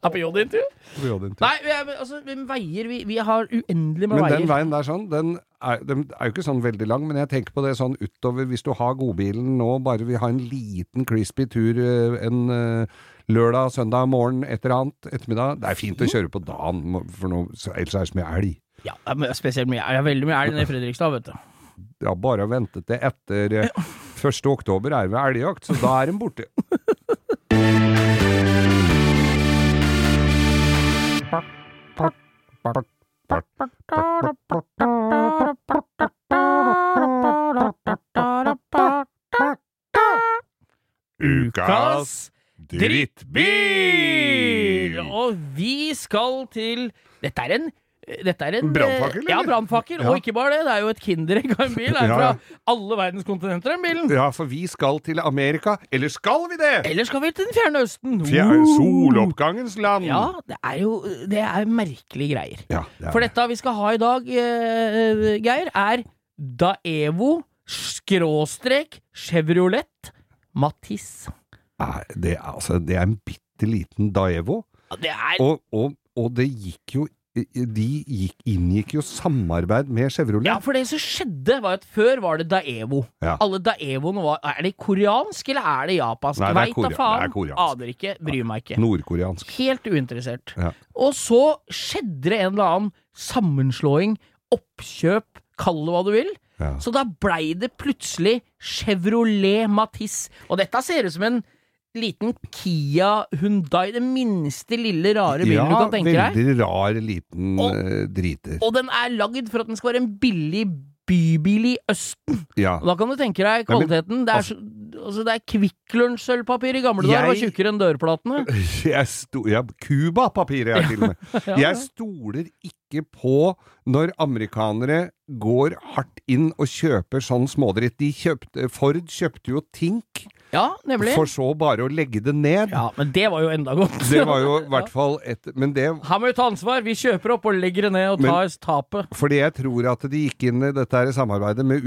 Speaker 3: Er på joddintervju?
Speaker 2: Jodintervju.
Speaker 3: Nei, vi, er- altså, vi veier vi, vi har uendelig med
Speaker 2: Men den
Speaker 3: veier.
Speaker 2: veien der sånn, den er, den er jo ikke sånn veldig lang, men jeg tenker på det sånn utover Hvis du har godbilen nå, bare vil ha en liten crispy tur eh, en eh, lørdag, søndag morgen, et eller annet, ettermiddag Det er fint
Speaker 3: Mm.
Speaker 2: å kjøre på dagen, må- for nå, så- ellers er det så mye elg.
Speaker 3: Ja, men spesielt mye. Det er veldig mye elg nede i Fredrikstad, vet du.
Speaker 2: Ja, bare å vente til etter eh, 1. oktober er det vel elgjakt, så da er den borte.
Speaker 3: Ukas
Speaker 2: drittbil!
Speaker 3: Og vi skal til Dette er en dette er en eh,
Speaker 2: Brannfakkel, eller?
Speaker 3: Ja, brannfakkel.
Speaker 2: Ja.
Speaker 3: Og ikke bare det, det er jo et kinderegg av en bil. Det er
Speaker 2: Ja,
Speaker 3: fra
Speaker 2: ja.
Speaker 3: alle verdens kontinenter, den bilen.
Speaker 2: Ja, for vi skal til Amerika. Eller skal vi det?
Speaker 3: Eller skal vi til Den fjerne østen?
Speaker 2: Fjer-
Speaker 3: Woo!
Speaker 2: Soloppgangens land.
Speaker 3: Ja, det er jo Det er merkelige greier.
Speaker 2: Ja, det er
Speaker 3: For dette vi skal ha i dag, eh, Geir, er Daevo skråstrek Chevrolet Matisse.
Speaker 2: Nei, det er, altså, det er en bitte liten Daevo.
Speaker 3: Ja, Det er
Speaker 2: Og, og, og det gikk jo De gikk, inngikk jo samarbeid med Chevrolet.
Speaker 3: Ja, for det som skjedde, var at før var det Daevo.
Speaker 2: Ja.
Speaker 3: Alle Daevoene var Er det koreansk, eller er det japansk?
Speaker 2: Nei, det er
Speaker 3: Veit da
Speaker 2: korea-
Speaker 3: faen.
Speaker 2: det er koreansk.
Speaker 3: Aner ikke. Bryr meg ikke.
Speaker 2: Nordkoreansk.
Speaker 3: Helt uinteressert.
Speaker 2: Ja.
Speaker 3: Og så skjedde det en eller annen sammenslåing, oppkjøp, kall det hva du vil.
Speaker 2: Ja.
Speaker 3: Så da blei det plutselig Chevrolet Matisse. Og dette ser ut som en liten Kia Hundai, den minste lille rare bilen du kan tenke deg.
Speaker 2: veldig rar liten
Speaker 3: Og-
Speaker 2: eh, driter.
Speaker 3: Og den er lagd for at den skal være en billig bybil i Østen.
Speaker 2: ja.
Speaker 3: Og da kan du tenke deg
Speaker 2: Nei, men-
Speaker 3: kvaliteten. Det er, så, altså, det er Kvikk Lunsj-sølvpapir i gamle dager, var
Speaker 2: Jeg-
Speaker 3: tjukkere enn dørplatene.
Speaker 2: Jeg sto, ja, Cuba-papiret er til og med.
Speaker 3: Ja, ja.
Speaker 2: Jeg stoler ikke på når amerikanere går hardt inn og kjøper sånn smådritt. De kjøpte, Ford kjøpte jo Tink,
Speaker 3: ja, nemlig.
Speaker 2: for så bare å legge det ned.
Speaker 3: Ja, men det var jo enda godt.
Speaker 2: Det var jo i hvert fall et Men det
Speaker 3: Her må vi ta ansvar. Vi kjøper opp og legger det ned og
Speaker 2: Men-
Speaker 3: tar tapet.
Speaker 2: Fordi jeg tror at de gikk inn i dette her samarbeidet med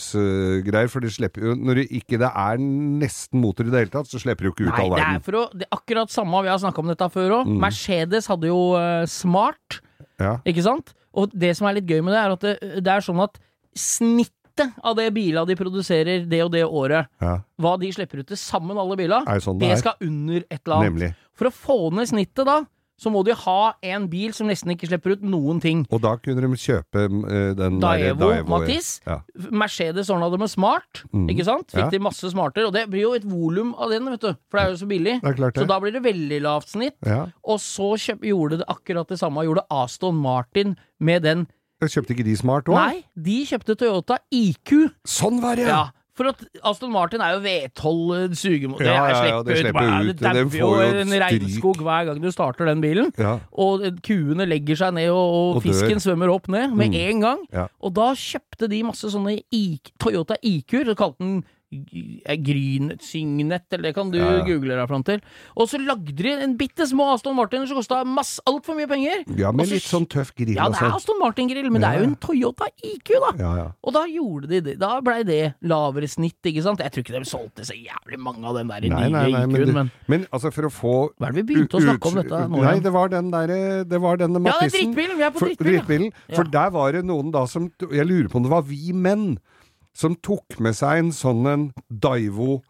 Speaker 2: utslippsgreier, for de slipper jo Når det ikke det er nesten motor i det hele tatt, så slipper du ikke ut
Speaker 3: Nei,
Speaker 2: all
Speaker 3: det er
Speaker 2: verden. Mm.
Speaker 3: for å Det er akkurat samme, vi har snakka om dette før òg. Mercedes hadde jo eh, Smart,
Speaker 2: Ja.
Speaker 3: ikke sant? Og det som er litt gøy med det, er at det, det er sånn at snittet av det bila de produserer det og det året,
Speaker 2: Ja.
Speaker 3: hva de slipper ut til sammen, alle bila,
Speaker 2: Er det sånn det
Speaker 3: det
Speaker 2: er?
Speaker 3: skal under et eller annet.
Speaker 2: Nemlig.
Speaker 3: For å få ned snittet, da, så må de ha en bil som nesten ikke slipper ut noen ting.
Speaker 2: Og da kunne de kjøpe eh, den derre
Speaker 3: Daevo,
Speaker 2: Daevo, ja.
Speaker 3: Matisse.
Speaker 2: Ja.
Speaker 3: Mercedes ordna det med smart, ikke sant? Fikk
Speaker 2: Mhm. Ja.
Speaker 3: de masse smartere, og det blir jo et volum av den, vet du. For det er jo så billig.
Speaker 2: Det er klart det.
Speaker 3: Så da blir det veldig lavt snitt.
Speaker 2: Ja.
Speaker 3: Og så kjøp, gjorde det akkurat det samme, gjorde Aston Martin med den.
Speaker 2: Kjøpte ikke de smart òg?
Speaker 3: Nei, de kjøpte Toyota IQ.
Speaker 2: Sånn var det!
Speaker 3: Ja. For at Aston Martin er jo V12 eh, sugemåte.
Speaker 2: Ja, ja, ja,
Speaker 3: det
Speaker 2: det slipper
Speaker 3: slipper
Speaker 2: ut,
Speaker 3: ut. Det
Speaker 2: den
Speaker 3: dauer jo
Speaker 2: får jo
Speaker 3: en
Speaker 2: stryk.
Speaker 3: regnskog hver gang du starter den bilen.
Speaker 2: Ja.
Speaker 3: Og kuene legger seg ned, og, og,
Speaker 2: Og dør.
Speaker 3: fisken svømmer opp ned med
Speaker 2: Mm.
Speaker 3: en gang.
Speaker 2: Ja.
Speaker 3: Og da kjøpte de masse sånne IQ, Toyota IQ-er, så kalte den G- eh, Gryn Signet, eller det kan du
Speaker 2: Ja, ja.
Speaker 3: google deg fram til. Og så lagde de en bitte små Aston Martiner som kosta altfor mye penger.
Speaker 2: ja, med
Speaker 3: Og så-
Speaker 2: litt sånn tøff grill
Speaker 3: Ja,
Speaker 2: og
Speaker 3: det er altså
Speaker 2: sånn.
Speaker 3: Aston Martin-grill, men det er jo en Toyota IQ, da.
Speaker 2: Ja, ja.
Speaker 3: Og da gjorde de det. Da blei det lavere snitt, ikke sant? Jeg tror ikke de solgte så jævlig mange av den der
Speaker 2: Nei, nei, nei,
Speaker 3: nye
Speaker 2: men,
Speaker 3: IQ-en,
Speaker 2: det-
Speaker 3: men
Speaker 2: men altså, for å få
Speaker 3: hva er det vi begynte å snakke om
Speaker 2: ut-
Speaker 3: dette nå
Speaker 2: Nei,
Speaker 3: igjen?
Speaker 2: det var den derre Det var denne
Speaker 3: Ja, det er
Speaker 2: Mathissen.
Speaker 3: drittbilen! Vi er på
Speaker 2: For,
Speaker 3: drittbilen! ja.
Speaker 2: drittbilen. For
Speaker 3: Ja.
Speaker 2: der var det noen da som Jeg lurer på om det var vi menn som tok med seg en sånn en Daivo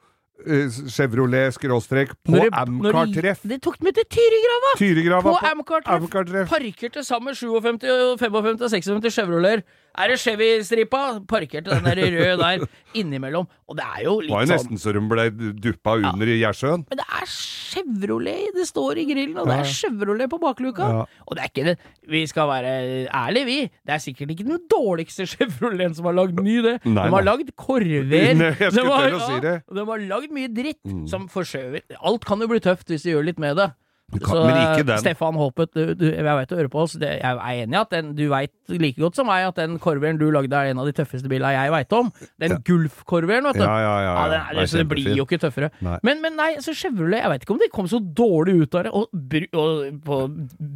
Speaker 2: eh, Chevrolet skråstrek på
Speaker 3: Når det- når
Speaker 2: Amcar-treff.
Speaker 3: de- Det tok meg til Tyrigrava!
Speaker 2: Tyregrava
Speaker 3: På
Speaker 2: på
Speaker 3: Amcar-treff.
Speaker 2: Amcar-treff.
Speaker 3: Parker til sammen 57, og 55 og 56 Chevroleter. Er det Chevy-stripa? Parker til den der røde der innimellom. Og det er jo
Speaker 2: Det var
Speaker 3: litt
Speaker 2: jo
Speaker 3: sånn
Speaker 2: nesten så de ble duppa under i Gjersjøen.
Speaker 3: men det er Chevrolet det står i grillen, og det
Speaker 2: Ja.
Speaker 3: er Chevrolet på bakluka.
Speaker 2: Ja.
Speaker 3: Og det er ikke det Vi skal være ærlige, vi. Det er sikkert ikke den dårligste Chevroleten som har lagd ny, det.
Speaker 2: Nei,
Speaker 3: de har
Speaker 2: nei.
Speaker 3: lagd korver.
Speaker 2: Nei, jeg
Speaker 3: de,
Speaker 2: skulle
Speaker 3: har,
Speaker 2: til å si det. Mm.
Speaker 3: de har lagd mye dritt som forskjøver Alt kan jo bli tøft hvis de gjør litt med det.
Speaker 2: Du kan,
Speaker 3: Så
Speaker 2: men ikke
Speaker 3: eh,
Speaker 2: den.
Speaker 3: Stefan Håpet, du, du, jeg veit du hører på oss. Det, jeg er enig i at den, du veit like godt som meg at den korveren du lagde er en av de tøffeste bilene jeg veit om. Den
Speaker 2: Ja.
Speaker 3: Gulf-korveren, vet du.
Speaker 2: Ja, ja, ja, ja.
Speaker 3: den er,
Speaker 2: Det er
Speaker 3: så det blir
Speaker 2: kjempefin.
Speaker 3: jo ikke tøffere.
Speaker 2: Nei.
Speaker 3: Men, men nei, så Chevrolet, jeg veit ikke om de kom så dårlig ut av det. Og, bru- og på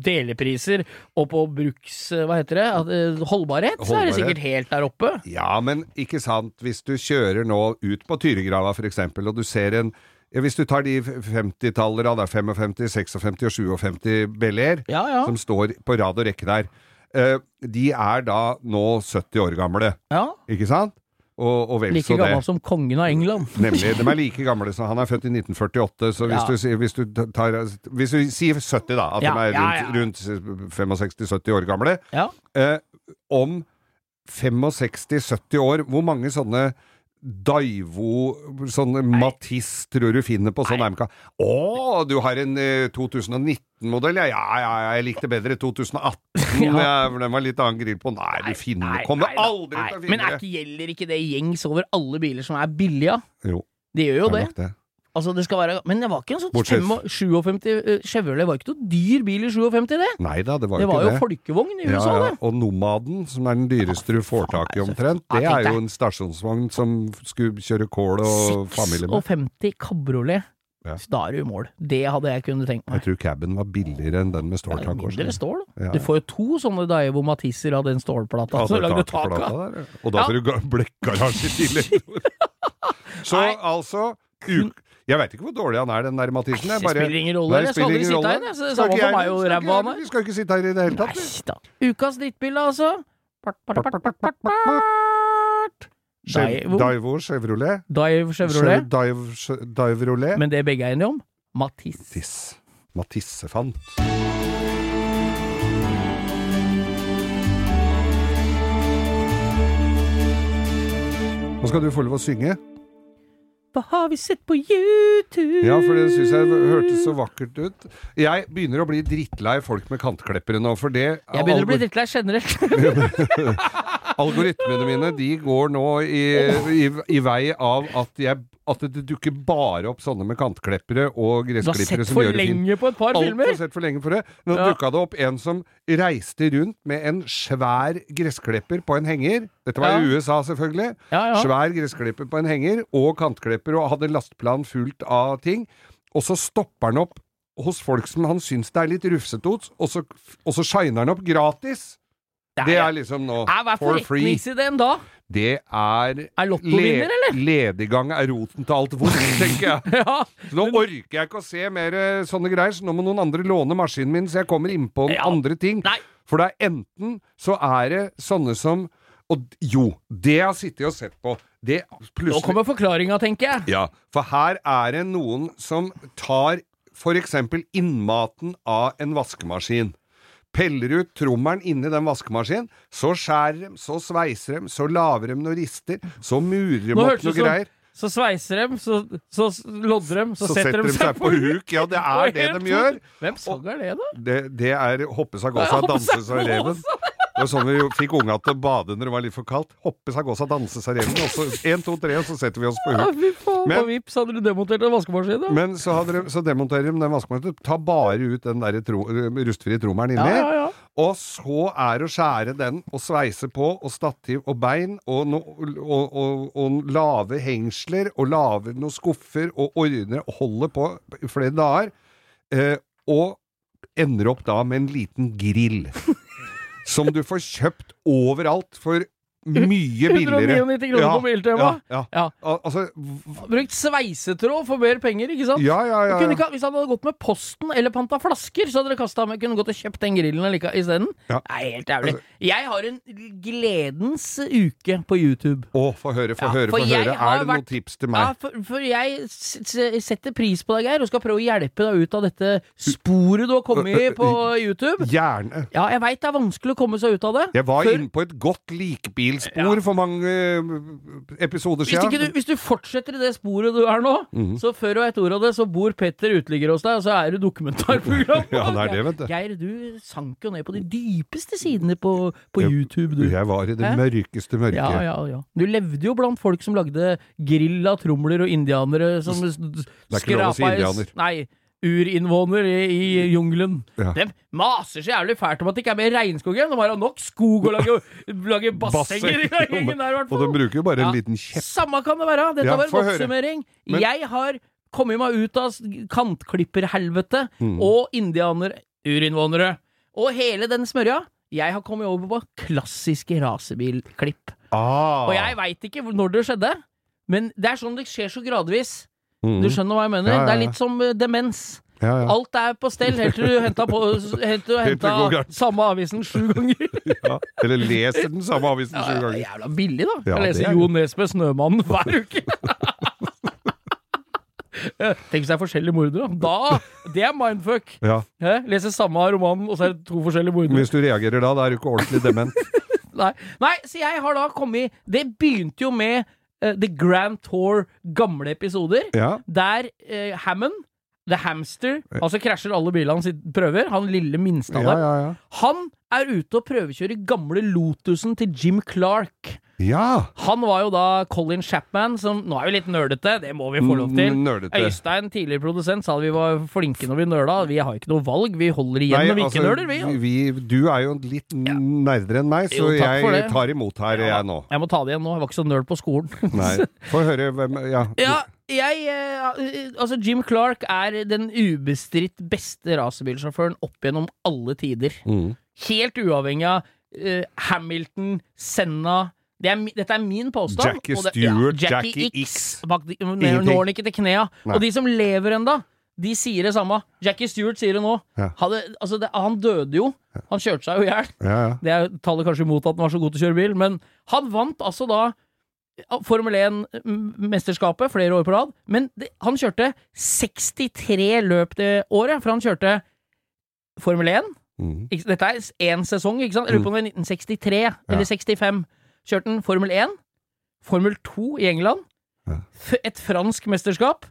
Speaker 3: delepriser og på bruks... Hva heter det? At, eh, Holdbarhet, så er
Speaker 2: Holdbarhet.
Speaker 3: det sikkert helt der oppe.
Speaker 2: Ja, men ikke sant, hvis du kjører nå ut på Tyregrava for eksempel, og du ser en ja, hvis du tar de 50-tallere, det er 55, 56 og 57 Bel-Air,
Speaker 3: Ja, ja.
Speaker 2: som står på rad og rekke der, eh, de er da nå 70 år gamle,
Speaker 3: ja.
Speaker 2: ikke sant? Og, og vel
Speaker 3: Like
Speaker 2: så det.
Speaker 3: gammel som kongen av England.
Speaker 2: Nemlig, de er like gamle, så han er født i 1948, så hvis,
Speaker 3: Ja.
Speaker 2: du, sier- hvis, du, tar, hvis du sier 70 da, at
Speaker 3: Ja,
Speaker 2: de er
Speaker 3: ja, ja.
Speaker 2: rundt, rundt 65-70 år gamle,
Speaker 3: Ja.
Speaker 2: eh, om 65-70 år, hvor mange sånne Daivo, sånn Matisse, tror du finner på sånn MK? Å, du har en eh, 2019-modell? Ja, ja, ja, ja, jeg likte bedre 2018.
Speaker 3: Ja.
Speaker 2: ja, for den var litt annen grill på. Nei, du finner
Speaker 3: Nei,
Speaker 2: Kommer
Speaker 3: nei da,
Speaker 2: aldri
Speaker 3: nei.
Speaker 2: til å
Speaker 3: Men
Speaker 2: finne
Speaker 3: er ikke, gjelder ikke det gjengs over alle biler som er billige?
Speaker 2: Jo,
Speaker 3: De gjør jo
Speaker 2: det
Speaker 3: det.
Speaker 2: er nok det.
Speaker 3: Altså, det skal være Men det var ikke en sånn
Speaker 2: Bortsett-
Speaker 3: 55 57 eh, Chevrolet var ikke noe dyr bil i 57, det.
Speaker 2: Nei da, det var
Speaker 3: Det
Speaker 2: jo
Speaker 3: var
Speaker 2: ikke
Speaker 3: jo
Speaker 2: det.
Speaker 3: folkevogn
Speaker 2: Ja,
Speaker 3: i
Speaker 2: ja.
Speaker 3: USA, det. altså.
Speaker 2: Og Nomaden, som er den dyreste du får tak i omtrent,
Speaker 3: Ja,
Speaker 2: det
Speaker 3: tenk
Speaker 2: er
Speaker 3: deg.
Speaker 2: jo en stasjonsvogn som skulle kjøre kål og familie med.
Speaker 3: 56 kabriolet.
Speaker 2: Ja.
Speaker 3: Så Da er du i mål. Det hadde jeg kunnet tenkt
Speaker 2: Jeg
Speaker 3: meg.
Speaker 2: tror caben var billigere enn den med
Speaker 3: Det er jo
Speaker 2: ståltak.
Speaker 3: mindre stål, da.
Speaker 2: Ja,
Speaker 3: Du får jo to sånne Daivo Matisser av den stålplata som lagde tak av.
Speaker 2: Og da
Speaker 3: Ja.
Speaker 2: får du ga- blekkgarasje i tillegg. Så
Speaker 3: Nei.
Speaker 2: altså uk Jeg veit ikke hvor dårlig han er, den der Mathisen.
Speaker 3: Nei,
Speaker 2: jeg
Speaker 3: det
Speaker 2: bare-
Speaker 3: spiller ingen rolle.
Speaker 2: Nei, det
Speaker 3: Jeg skal
Speaker 2: spiller
Speaker 3: aldri
Speaker 2: ingen
Speaker 3: sitte
Speaker 2: rolle.
Speaker 3: her, jeg, så det er
Speaker 2: Skal
Speaker 3: samme
Speaker 2: ikke
Speaker 3: for
Speaker 2: jeg-
Speaker 3: meg hvor
Speaker 2: skal ikke
Speaker 3: ræva han
Speaker 2: jeg-
Speaker 3: er.
Speaker 2: Vi skal ikke sitte her i det hele tatt.
Speaker 3: Nei
Speaker 2: vi.
Speaker 3: da. Ukas drittbil, altså. Part, part, part, part, part, part.
Speaker 2: Chev-
Speaker 3: Daivo
Speaker 2: Daivo Chevrolet.
Speaker 3: Daivo Chevrolet.
Speaker 2: Chev- Daiv- Che- Daivrolé.
Speaker 3: Men det begge er enige om? Matisse.
Speaker 2: Matisse. Matisse fant. Nå skal du få lov å synge.
Speaker 3: Hva har vi sett på YouTube?
Speaker 2: Ja, for det syns jeg hørtes så vakkert ut. Jeg begynner å bli drittlei folk med kantklippere nå, for det
Speaker 3: Jeg begynner å bli
Speaker 2: algor-
Speaker 3: drittlei generelt.
Speaker 2: Algoritmene mine de går nå i, i, i vei av at, jeg, at det dukker bare opp sånne med kantklippere og
Speaker 3: Du har
Speaker 2: gressklippere
Speaker 3: sett
Speaker 2: som
Speaker 3: for
Speaker 2: gjør det fint.
Speaker 3: lenge på et par
Speaker 2: Altfor
Speaker 3: filmer!
Speaker 2: sett for lenge for det. Nå
Speaker 3: Ja.
Speaker 2: dukka det opp en som reiste rundt med en svær gressklipper på en henger. Dette var i
Speaker 3: Ja.
Speaker 2: USA, selvfølgelig.
Speaker 3: Ja, ja.
Speaker 2: Svær gressklipper på en henger, og kantklipper, og hadde lastplan fullt av ting. Og så stopper han opp hos folk som han syns det er litt rufsete hos, og så, og så shiner han opp gratis! Det er liksom nå
Speaker 3: Nei, Hva er
Speaker 2: for free.
Speaker 3: forretningsideen da?
Speaker 2: Det er
Speaker 3: Er lottovinner,
Speaker 2: le- Lediggang er roten til alt vondt, tenker jeg.
Speaker 3: Ja.
Speaker 2: Så nå orker jeg ikke å se mer eh, sånne greier, så nå må noen andre låne maskinen min, så jeg kommer innpå
Speaker 3: Ja.
Speaker 2: andre ting.
Speaker 3: Nei.
Speaker 2: For det er enten så er det sånne som Og d- jo, det jeg har sittet og sett på, det
Speaker 3: Nå
Speaker 2: plutselig
Speaker 3: kommer forklaringa, tenker jeg.
Speaker 2: Ja, for her er det noen som tar for eksempel innmaten av en vaskemaskin. Peller ut trommelen inni den vaskemaskinen, så skjærer dem, så sveiser dem, så laver dem noen rister, så murer dem
Speaker 3: Nå
Speaker 2: opp
Speaker 3: hørtes
Speaker 2: noen
Speaker 3: det
Speaker 2: greier.
Speaker 3: ut som Så sveiser dem, så, så lodder dem, så,
Speaker 2: Så setter de seg på huk. Ja, det
Speaker 3: Og
Speaker 2: er det
Speaker 3: helt
Speaker 2: de gjør.
Speaker 3: Hvem sang er det, da?
Speaker 2: Det, det er hoppe seg gåsa,
Speaker 3: Ja, hoppe
Speaker 2: danse
Speaker 3: seg
Speaker 2: seg reven.
Speaker 3: gåsa.
Speaker 2: Det var sånn vi jo fikk unga til å bade når det var litt for kaldt. Hoppe seg gåsa, danse seg reven. Og så én, to, tre, og så setter vi oss på
Speaker 3: Ja,
Speaker 2: huk.
Speaker 3: fy faen,
Speaker 2: Men-
Speaker 3: på Vipps hadde du demontert en vaskemaskin, da.
Speaker 2: Men så, hadde de, så demonterer de den vaskemaskinen. Ta bare ut den der tro, rustfrie trommelen
Speaker 3: ja,
Speaker 2: inni.
Speaker 3: ja, ja.
Speaker 2: Og så er å skjære den og sveise på, og stativ og bein, og, no, og, og, og lave hengsler, og lave noen skuffer, og ordne og holde på i flere dager. Eh, og ender opp da med en liten grill. som du får kjøpt overalt for mye billigere.
Speaker 3: 199 kroner på Biltema.
Speaker 2: Ja, ja.
Speaker 3: Ja.
Speaker 2: Al- Altså v-
Speaker 3: Brukt sveisetråd for mer penger, ikke sant?
Speaker 2: Ja, ja, ja.
Speaker 3: Kunne
Speaker 2: ja.
Speaker 3: ikke, hvis han hadde gått med posten eller panta flasker, så hadde dere kastet med, kunne gått og kjøpt den grillen allike- isteden.
Speaker 2: Ja. Altså-
Speaker 3: Det er helt jævlig. Jeg har en gledens uke på YouTube.
Speaker 2: Å, få høre, få
Speaker 3: Ja,
Speaker 2: høre,
Speaker 3: for
Speaker 2: få
Speaker 3: jeg
Speaker 2: høre.
Speaker 3: har
Speaker 2: Er det
Speaker 3: vært-
Speaker 2: noen tips til
Speaker 3: Ja,
Speaker 2: meg?
Speaker 3: for, for jeg s s setter pris på deg, Geir, og skal prøve å hjelpe deg ut av dette sporet du har kommet i på YouTube.
Speaker 2: Gjerne.
Speaker 3: Ja, jeg veit det er vanskelig å komme seg ut av det.
Speaker 2: Jeg var
Speaker 3: Før-
Speaker 2: inne på et godt likbilspor for mange eh, episoder
Speaker 3: Hvis, ikke du,
Speaker 2: siden.
Speaker 3: hvis du fortsetter i det sporet du er nå,
Speaker 2: Mhm.
Speaker 3: så før og et ord av det, så bor Petter uteligger hos deg, og så er du dokumentarprogram.
Speaker 2: Ja, det er det, vet du.
Speaker 3: Geir, du sank jo ned på de dypeste sidene på, på YouTube, du.
Speaker 2: Jeg var i det
Speaker 3: Hæ?
Speaker 2: mørkeste mørke.
Speaker 3: Ja, ja, ja. Du levde jo blant folk som lagde grill av tromler og indianere som
Speaker 2: ikke lov å si
Speaker 3: skrapa i s-
Speaker 2: indianer.
Speaker 3: Nei. urinnvåner i, i jungelen.
Speaker 2: Ja.
Speaker 3: De maser så jævlig fælt om at det ikke er mer regnskog igjen. De har jo nok skog å lage, lage bassenger i den gjengen der, i hvert
Speaker 2: Og de
Speaker 3: fall.
Speaker 2: bruker jo bare
Speaker 3: Ja.
Speaker 2: en liten kjepp.
Speaker 3: Samme kan det være. Dette
Speaker 2: Ja,
Speaker 3: var
Speaker 2: få
Speaker 3: en
Speaker 2: høre.
Speaker 3: oppsummering.
Speaker 2: Men-
Speaker 3: Jeg har kommet meg ut av s- kantklipperhelvete
Speaker 2: Mm.
Speaker 3: og indianere, urinnvånere, og hele den smørja. Jeg har kommet over på klassiske rasebilklipp.
Speaker 2: Ah.
Speaker 3: Og jeg veit ikke hvor- når det skjedde, men det er sånn det skjer så gradvis.
Speaker 2: Mm.
Speaker 3: Du skjønner hva jeg mener?
Speaker 2: Ja, ja,
Speaker 3: Det er
Speaker 2: ja.
Speaker 3: litt som eh, demens.
Speaker 2: ja, ja.
Speaker 3: Alt er på stell helt til du henta, på, helt til du
Speaker 2: Helt til det går
Speaker 3: henta
Speaker 2: gærent.
Speaker 3: samme avisen sju ganger.
Speaker 2: ja. Eller leser den samme avisen sju
Speaker 3: Ja,
Speaker 2: ganger.
Speaker 3: jævla billig, da.
Speaker 2: Ja,
Speaker 3: jeg
Speaker 2: det er
Speaker 3: leser
Speaker 2: det.
Speaker 3: Jo Nesbø Snømannen hver uke. Tenk hvis det er forskjellige mordere. Da! Det er mindfuck.
Speaker 2: Ja.
Speaker 3: Hæ? Leser samme romanen, og så er det to forskjellige
Speaker 2: Men
Speaker 3: mordere.
Speaker 2: Hvis du reagerer da, da er du ikke ordentlig dement.
Speaker 3: Nei. Nei, så jeg har da kommet Det begynte jo med eh, The Grand Tour, gamle episoder.
Speaker 2: Ja.
Speaker 3: Der eh, Hammond, The Hamster, altså krasjer alle bilene hans i prøver, han lille minste
Speaker 2: Ja,
Speaker 3: av
Speaker 2: ja,
Speaker 3: dem,
Speaker 2: ja.
Speaker 3: han er ute og prøvekjører gamle Lotusen til Jim Clark.
Speaker 2: ja.
Speaker 3: Han var jo da Colin Chapman, som Nå er vi litt nerdete, det må vi få lov til.
Speaker 2: Mm, nerdete.
Speaker 3: Øystein, tidligere produsent, sa at vi var flinke når vi nøla. Vi har ikke noe valg, vi holder igjen
Speaker 2: Nei,
Speaker 3: når vi
Speaker 2: altså,
Speaker 3: ikke nøler, vi.
Speaker 2: vi- Du er jo litt nerdere enn meg,
Speaker 3: Jo,
Speaker 2: så
Speaker 3: takk for det.
Speaker 2: jeg tar imot her, jeg nå.
Speaker 3: Jeg må ta det igjen nå, jeg var ikke så nerd på skolen.
Speaker 2: Nei. Få høre hvem Ja.
Speaker 3: Ja, jeg eh, Altså, Jim Clark er den ubestridt beste racerbilsjåføren opp gjennom alle tider.
Speaker 2: Mm.
Speaker 3: Helt uavhengig av eh, Hamilton, Senna det er, mi- Dette er min påstand.
Speaker 2: Jackie
Speaker 3: og det-
Speaker 2: Stewart,
Speaker 3: Jackie,
Speaker 2: Jackie
Speaker 3: X.
Speaker 2: X.
Speaker 3: Bak de, nå
Speaker 2: Ingenting.
Speaker 3: når han ikke til knea.
Speaker 2: Nei.
Speaker 3: Og de som lever enda de sier det samme. Jackie Stewart sier det nå.
Speaker 2: Ja.
Speaker 3: Hadde, altså det, han døde jo. Han kjørte seg jo i hjel.
Speaker 2: Ja, ja.
Speaker 3: Det er- taler kanskje imot at han var så god til å kjøre bil, men han vant altså da Formel 1-mesterskapet flere år på rad, men det, han kjørte 63 løp det året, for han kjørte Formel 1.
Speaker 2: Mm.
Speaker 3: Ikke, dette er én sesong, ikke sant? Jeg lurer på om det er 1963 eller 65. Kjørte han Formel 1, Formel 2 i England,
Speaker 2: Ja.
Speaker 3: f et fransk mesterskap,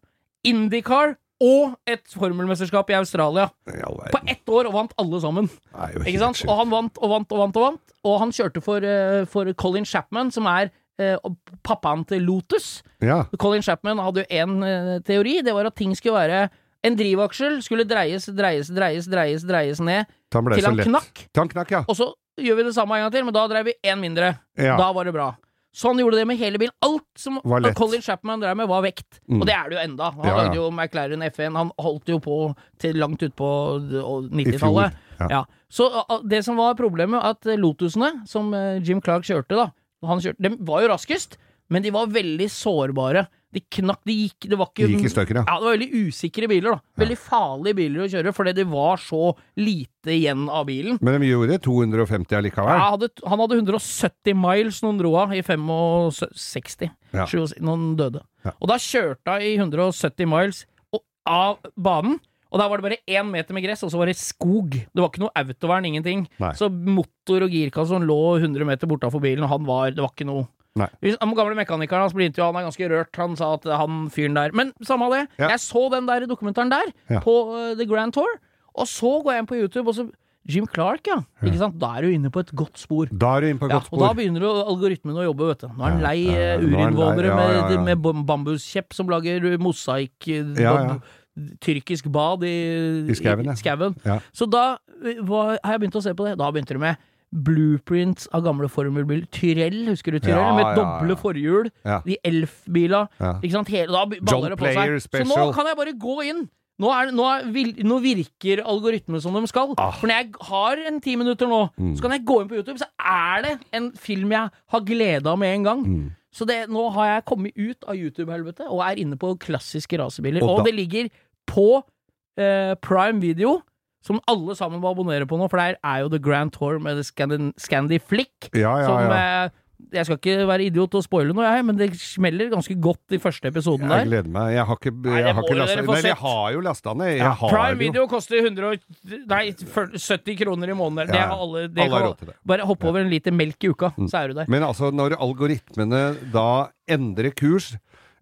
Speaker 3: Indycar og et formelmesterskap i Australia.
Speaker 2: I all verden.
Speaker 3: På ett år, og vant alle sammen.
Speaker 2: Det er jo helt
Speaker 3: Ikke sant?
Speaker 2: sjukt.
Speaker 3: Og han vant og vant og vant. Og vant Og han kjørte for, eh, for Colin Chapman, som er eh, pappaen til Lotus.
Speaker 2: Ja.
Speaker 3: Colin Chapman hadde jo én eh, teori. Det var at ting skulle være En drivaksel skulle dreies, dreies, dreies, dreies, dreies ned
Speaker 2: Til han ble
Speaker 3: til
Speaker 2: så
Speaker 3: han
Speaker 2: lett.
Speaker 3: knakk.
Speaker 2: Til han knakk, ja.
Speaker 3: Og så gjør vi det samme en gang til, men da drev vi én mindre.
Speaker 2: Ja.
Speaker 3: Da var det bra. Sånn gjorde det med hele bilen. Alt som
Speaker 2: Var lett. Mm.
Speaker 3: Colin Chapman drev med, var vekt. Og det er det jo enda. Han
Speaker 2: Ja, ja.
Speaker 3: lagde jo McLaren F1. Han holdt jo på til langt utpå
Speaker 2: I fjor.
Speaker 3: 90-tallet.
Speaker 2: Ja.
Speaker 3: Ja. Så a- det som var problemet, at eh, Lotusene, som eh, Jim Clark kjørte, da han kjørte, De var jo raskest, men de var veldig sårbare. De knakk, de gikk Det var ikke
Speaker 2: De gikk i stykker, ja.
Speaker 3: ja, det var veldig usikre biler, da. Veldig farlige biler å kjøre, fordi det var så lite igjen av bilen.
Speaker 2: Men de gjorde 250
Speaker 3: Ja,
Speaker 2: allikevel.
Speaker 3: hadde, han hadde 170 miles når han dro av, i 65.
Speaker 2: Ja.
Speaker 3: 67, når han døde.
Speaker 2: Ja.
Speaker 3: Og da kjørte han i 170 miles og, av banen. Og der var det bare én meter med gress, og så var det skog. Det var ikke noe autovern, ingenting.
Speaker 2: Nei.
Speaker 3: Så motor og girkasse han lå 100 meter bortafor bilen, og han var Det var ikke noe
Speaker 2: Nei.
Speaker 3: Hvis- Han gamle mekanikeren hans ble intervjua, han er ganske rørt. Han sa at han fyren der Men samme av det,
Speaker 2: Ja.
Speaker 3: jeg så den der dokumentaren der,
Speaker 2: Ja.
Speaker 3: på eh, The Grand Tour, og så går jeg inn på YouTube, og så Jim Clark, ja. Ikke sant? Da er du inne på et godt spor.
Speaker 2: Da er du inne på
Speaker 3: Ja,
Speaker 2: godt
Speaker 3: og da
Speaker 2: spor.
Speaker 3: begynner jo algoritmen å jobbe, vet du. Nå er den
Speaker 2: Ja,
Speaker 3: lei
Speaker 2: ja, ja. Nå er
Speaker 3: eh,
Speaker 2: den lei,
Speaker 3: urinnvånere
Speaker 2: ja,
Speaker 3: med,
Speaker 2: ja, ja.
Speaker 3: med bam- bambuskjepp som lager mosaikk eh,
Speaker 2: Ja, ja.
Speaker 3: bab- Tyrkisk bad i,
Speaker 2: I skauen, ja.
Speaker 3: skauen.
Speaker 2: Ja.
Speaker 3: Så da eh, var, har jeg begynt å se på det. Da begynte det med blueprints av gamle formelbiler. Tyrell, husker du Tyrell?
Speaker 2: Ja,
Speaker 3: med
Speaker 2: ja, ja.
Speaker 3: doble forhjul.
Speaker 2: Ja.
Speaker 3: De Elf-bila.
Speaker 2: Ja.
Speaker 3: Ikke sant? Hele, da
Speaker 2: John
Speaker 3: baller det på
Speaker 2: Player
Speaker 3: seg. Så nå
Speaker 2: Special.
Speaker 3: kan jeg bare gå inn. Nå, er, det- nå, er, vil- nå virker algoritmene som de skal.
Speaker 2: Ah. Mm.
Speaker 3: For når jeg har en ti minutter nå, så kan jeg gå inn på YouTube, så er det en film jeg har glede av med en gang.
Speaker 2: Mm.
Speaker 3: Så det, nå har jeg kommet ut av YouTube-helvete og er inne på klassiske rasebiler.
Speaker 2: Og
Speaker 3: Og,
Speaker 2: da-
Speaker 3: det ligger på eh, Prime Video, som alle sammen må abonnere på nå, for der er jo The Grand Tour med The Scandi, Scandi Flick.
Speaker 2: Ja, ja,
Speaker 3: som
Speaker 2: ja.
Speaker 3: eh, Jeg skal ikke være idiot og spoile noe, jeg, men det smeller ganske godt i første
Speaker 2: Jeg
Speaker 3: episoden der.
Speaker 2: gleder meg. Jeg har ikke,
Speaker 3: det
Speaker 2: jeg har
Speaker 3: må
Speaker 2: ikke
Speaker 3: jo
Speaker 2: lasta
Speaker 3: dere få
Speaker 2: Nei, jeg
Speaker 3: sett.
Speaker 2: har jo lasta ned. Jeg har
Speaker 3: Prime
Speaker 2: jo
Speaker 3: Video koster 100, og- nei, 70 kroner i måneden. Det
Speaker 2: Ja, ja.
Speaker 3: har alle, det
Speaker 2: Alle har
Speaker 3: kan-
Speaker 2: råd til det.
Speaker 3: Bare hopp over en liter melk i uka, så er du der.
Speaker 2: Men altså, når algoritmene da endrer kurs,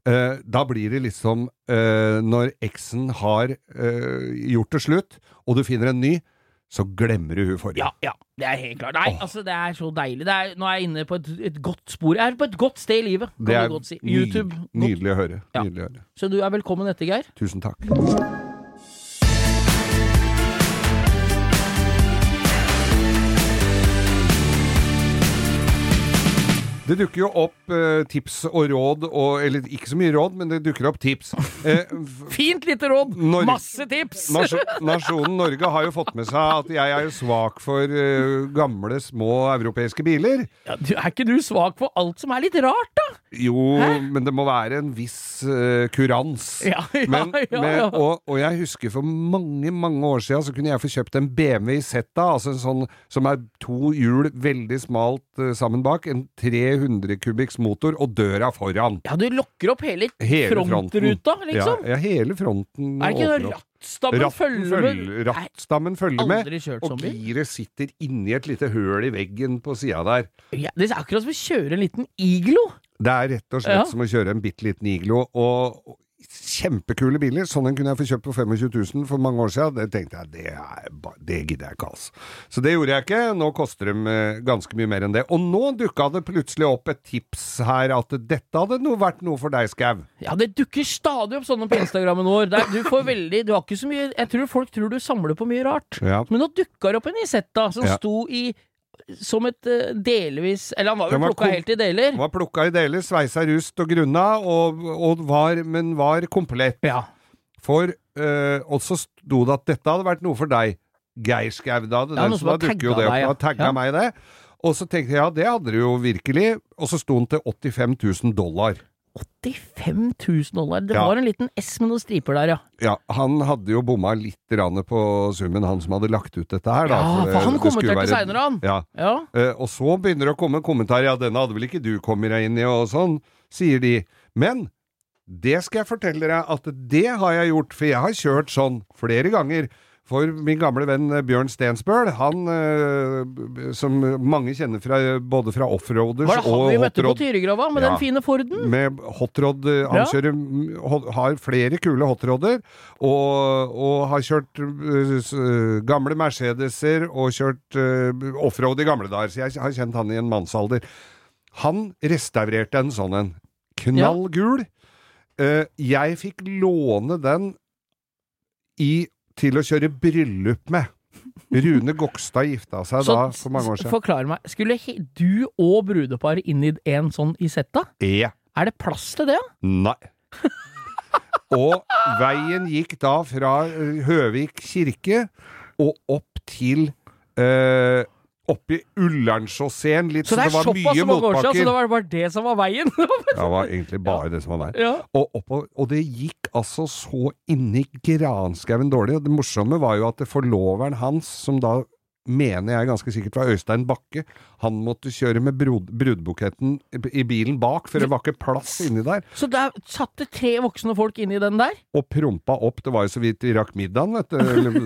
Speaker 2: eh, da blir det liksom eh, Når X-en har eh, gjort det slutt, og du finner en ny, så glemmer du hun forrige.
Speaker 3: Ja, ja, det er helt klart. Nei, altså, det er så deilig. Det er, nå er jeg inne på et, et godt spor. Jeg er på et godt sted i livet, kan
Speaker 2: det er
Speaker 3: du godt si.
Speaker 2: ny-
Speaker 3: YouTube. Godt.
Speaker 2: nydelig å høre.
Speaker 3: Ja.
Speaker 2: Nydelig å høre.
Speaker 3: Så du er velkommen etter, Geir.
Speaker 2: Tusen takk. Det dukker jo opp eh, tips og råd, og, eller ikke så mye råd, men det dukker opp tips. Eh, f-
Speaker 3: Fint lite råd!
Speaker 2: Når-
Speaker 3: Masse tips!
Speaker 2: nasjo- nasjonen Norge har jo fått med seg at jeg er jo svak for eh, gamle, små europeiske biler.
Speaker 3: Ja, du, er ikke du svak for alt som er litt rart, da?
Speaker 2: Jo, men det må være en viss eh, kurans.
Speaker 3: Ja, ja,
Speaker 2: men,
Speaker 3: ja,
Speaker 2: men-
Speaker 3: ja.
Speaker 2: og, og jeg husker for mange, mange år siden så kunne jeg få kjøpt en BMW Zeta, altså en sånn som er to hjul veldig smalt eh, sammen bak, en 300 kubikks motor og døra foran.
Speaker 3: Ja, du lokker opp hele,
Speaker 2: Hele fronten.
Speaker 3: frontruta, liksom.
Speaker 2: Ja, ja hele fronten
Speaker 3: er det ikke
Speaker 2: åpner
Speaker 3: noe
Speaker 2: opp.
Speaker 3: rattstabben
Speaker 2: Ratten
Speaker 3: følger med?
Speaker 2: følger, rattstammen følger
Speaker 3: Nei,
Speaker 2: med,
Speaker 3: aldri kjørt
Speaker 2: og
Speaker 3: sånn bil.
Speaker 2: giret sitter inni et lite høl i veggen på sida der.
Speaker 3: Ja, det er akkurat som å kjøre en liten iglo.
Speaker 2: Det er rett og slett
Speaker 3: Ja.
Speaker 2: som å kjøre en bitte liten iglo. Og, og kjempekule biler. Sånn en kunne jeg få kjøpt for 25 000 for mange år siden. Det tenkte jeg, det, er, ba- det gidder jeg ikke, altså. Så det gjorde jeg ikke. Nå koster de eh, ganske mye mer enn det. Og nå dukka det plutselig opp et tips her at dette hadde no, vært noe for deg, Skau.
Speaker 3: Ja, det dukker stadig opp sånne på Instagrammen vår. Der, du får veldig Du har ikke så mye Jeg tror folk tror du samler på mye rart.
Speaker 2: Ja.
Speaker 3: Men nå dukka det opp en Isetta som
Speaker 2: Ja.
Speaker 3: sto i Som et eh, delvis Eller han var
Speaker 2: Den
Speaker 3: vel
Speaker 2: var
Speaker 3: plukka
Speaker 2: kom-
Speaker 3: helt i deler.
Speaker 2: Var plukka i deler, sveisa rust og grunna, og, og var, men var komplett.
Speaker 3: Ja.
Speaker 2: For eh, Og så sto det at dette hadde vært noe for deg, Geir Skau. Da hadde
Speaker 3: Ja,
Speaker 2: den
Speaker 3: noen
Speaker 2: som
Speaker 3: som
Speaker 2: da
Speaker 3: hadde
Speaker 2: dukker jo
Speaker 3: tagget
Speaker 2: det opp,
Speaker 3: deg, ja.
Speaker 2: hadde tagga
Speaker 3: Ja.
Speaker 2: meg i det. Og så tenkte jeg ja, det hadde du jo virkelig. Og så sto den til 85 000 dollar.
Speaker 3: 85 000 dollar. Det
Speaker 2: Ja.
Speaker 3: var en liten S med noen striper der, ja.
Speaker 2: Ja, han hadde jo bomma litt grann på summen, han som hadde lagt ut dette her, da.
Speaker 3: Ja,
Speaker 2: det-
Speaker 3: for han
Speaker 2: det
Speaker 3: kommenterte
Speaker 2: skulle være-
Speaker 3: senere, han.
Speaker 2: Ja.
Speaker 3: Ja.
Speaker 2: Eh, og så begynner det å komme kommentarer. Ja, denne hadde vel ikke du kommet deg inn i, og sånn, sier de. Men det skal jeg fortelle dere at det har jeg gjort, for jeg har kjørt sånn flere ganger. For min gamle venn eh, Bjørn Stensbøl, han eh, b- b- som mange kjenner fra, både fra offroaders
Speaker 3: Var det han vi
Speaker 2: og
Speaker 3: møtte på
Speaker 2: hotrod
Speaker 3: Tyregrava med
Speaker 2: Ja.
Speaker 3: den fine Forden?
Speaker 2: med hotrod. eh, Han
Speaker 3: Bra.
Speaker 2: kjører, mm, ho- har flere kule hotroder, og, og har kjørt eh, s- eh, gamle Mercedeser og kjørt eh, offroad i gamle dager, så jeg har kjent han i en mannsalder. Han restaurerte en sånn en. Knall gul. Eh, jeg fikk låne den i, til å kjøre bryllup med. Rune Gokstad gifta seg da
Speaker 3: s-
Speaker 2: for mange år siden.
Speaker 3: Forklar meg, skulle he, du og brudeparet inn i en sånn Isetta?
Speaker 2: Ja.
Speaker 3: Er det plass til det?
Speaker 2: Nei. og veien gikk da fra eh, Høvik kirke og opp til eh, Oppi Ullernchausseen litt,
Speaker 3: Så det er
Speaker 2: var
Speaker 3: såpass
Speaker 2: mye
Speaker 3: mange år siden, så
Speaker 2: motbakker.
Speaker 3: det var bare det som var veien?
Speaker 2: Ja, det var egentlig bare det som var der.
Speaker 3: ja.
Speaker 2: Og, oppå- og det gikk altså så inni granskauen dårlig. Og det morsomme var jo at forloveren hans, som da mener jeg ganske sikkert var Øystein Bakke, han måtte kjøre med brud, brudbuketten i- i bilen bak, for det var ikke plass inni der.
Speaker 3: Så der satt det tre voksne folk inni den der?
Speaker 2: og prompa opp. Det var jo så vidt vi rakk middagen, vet du. eller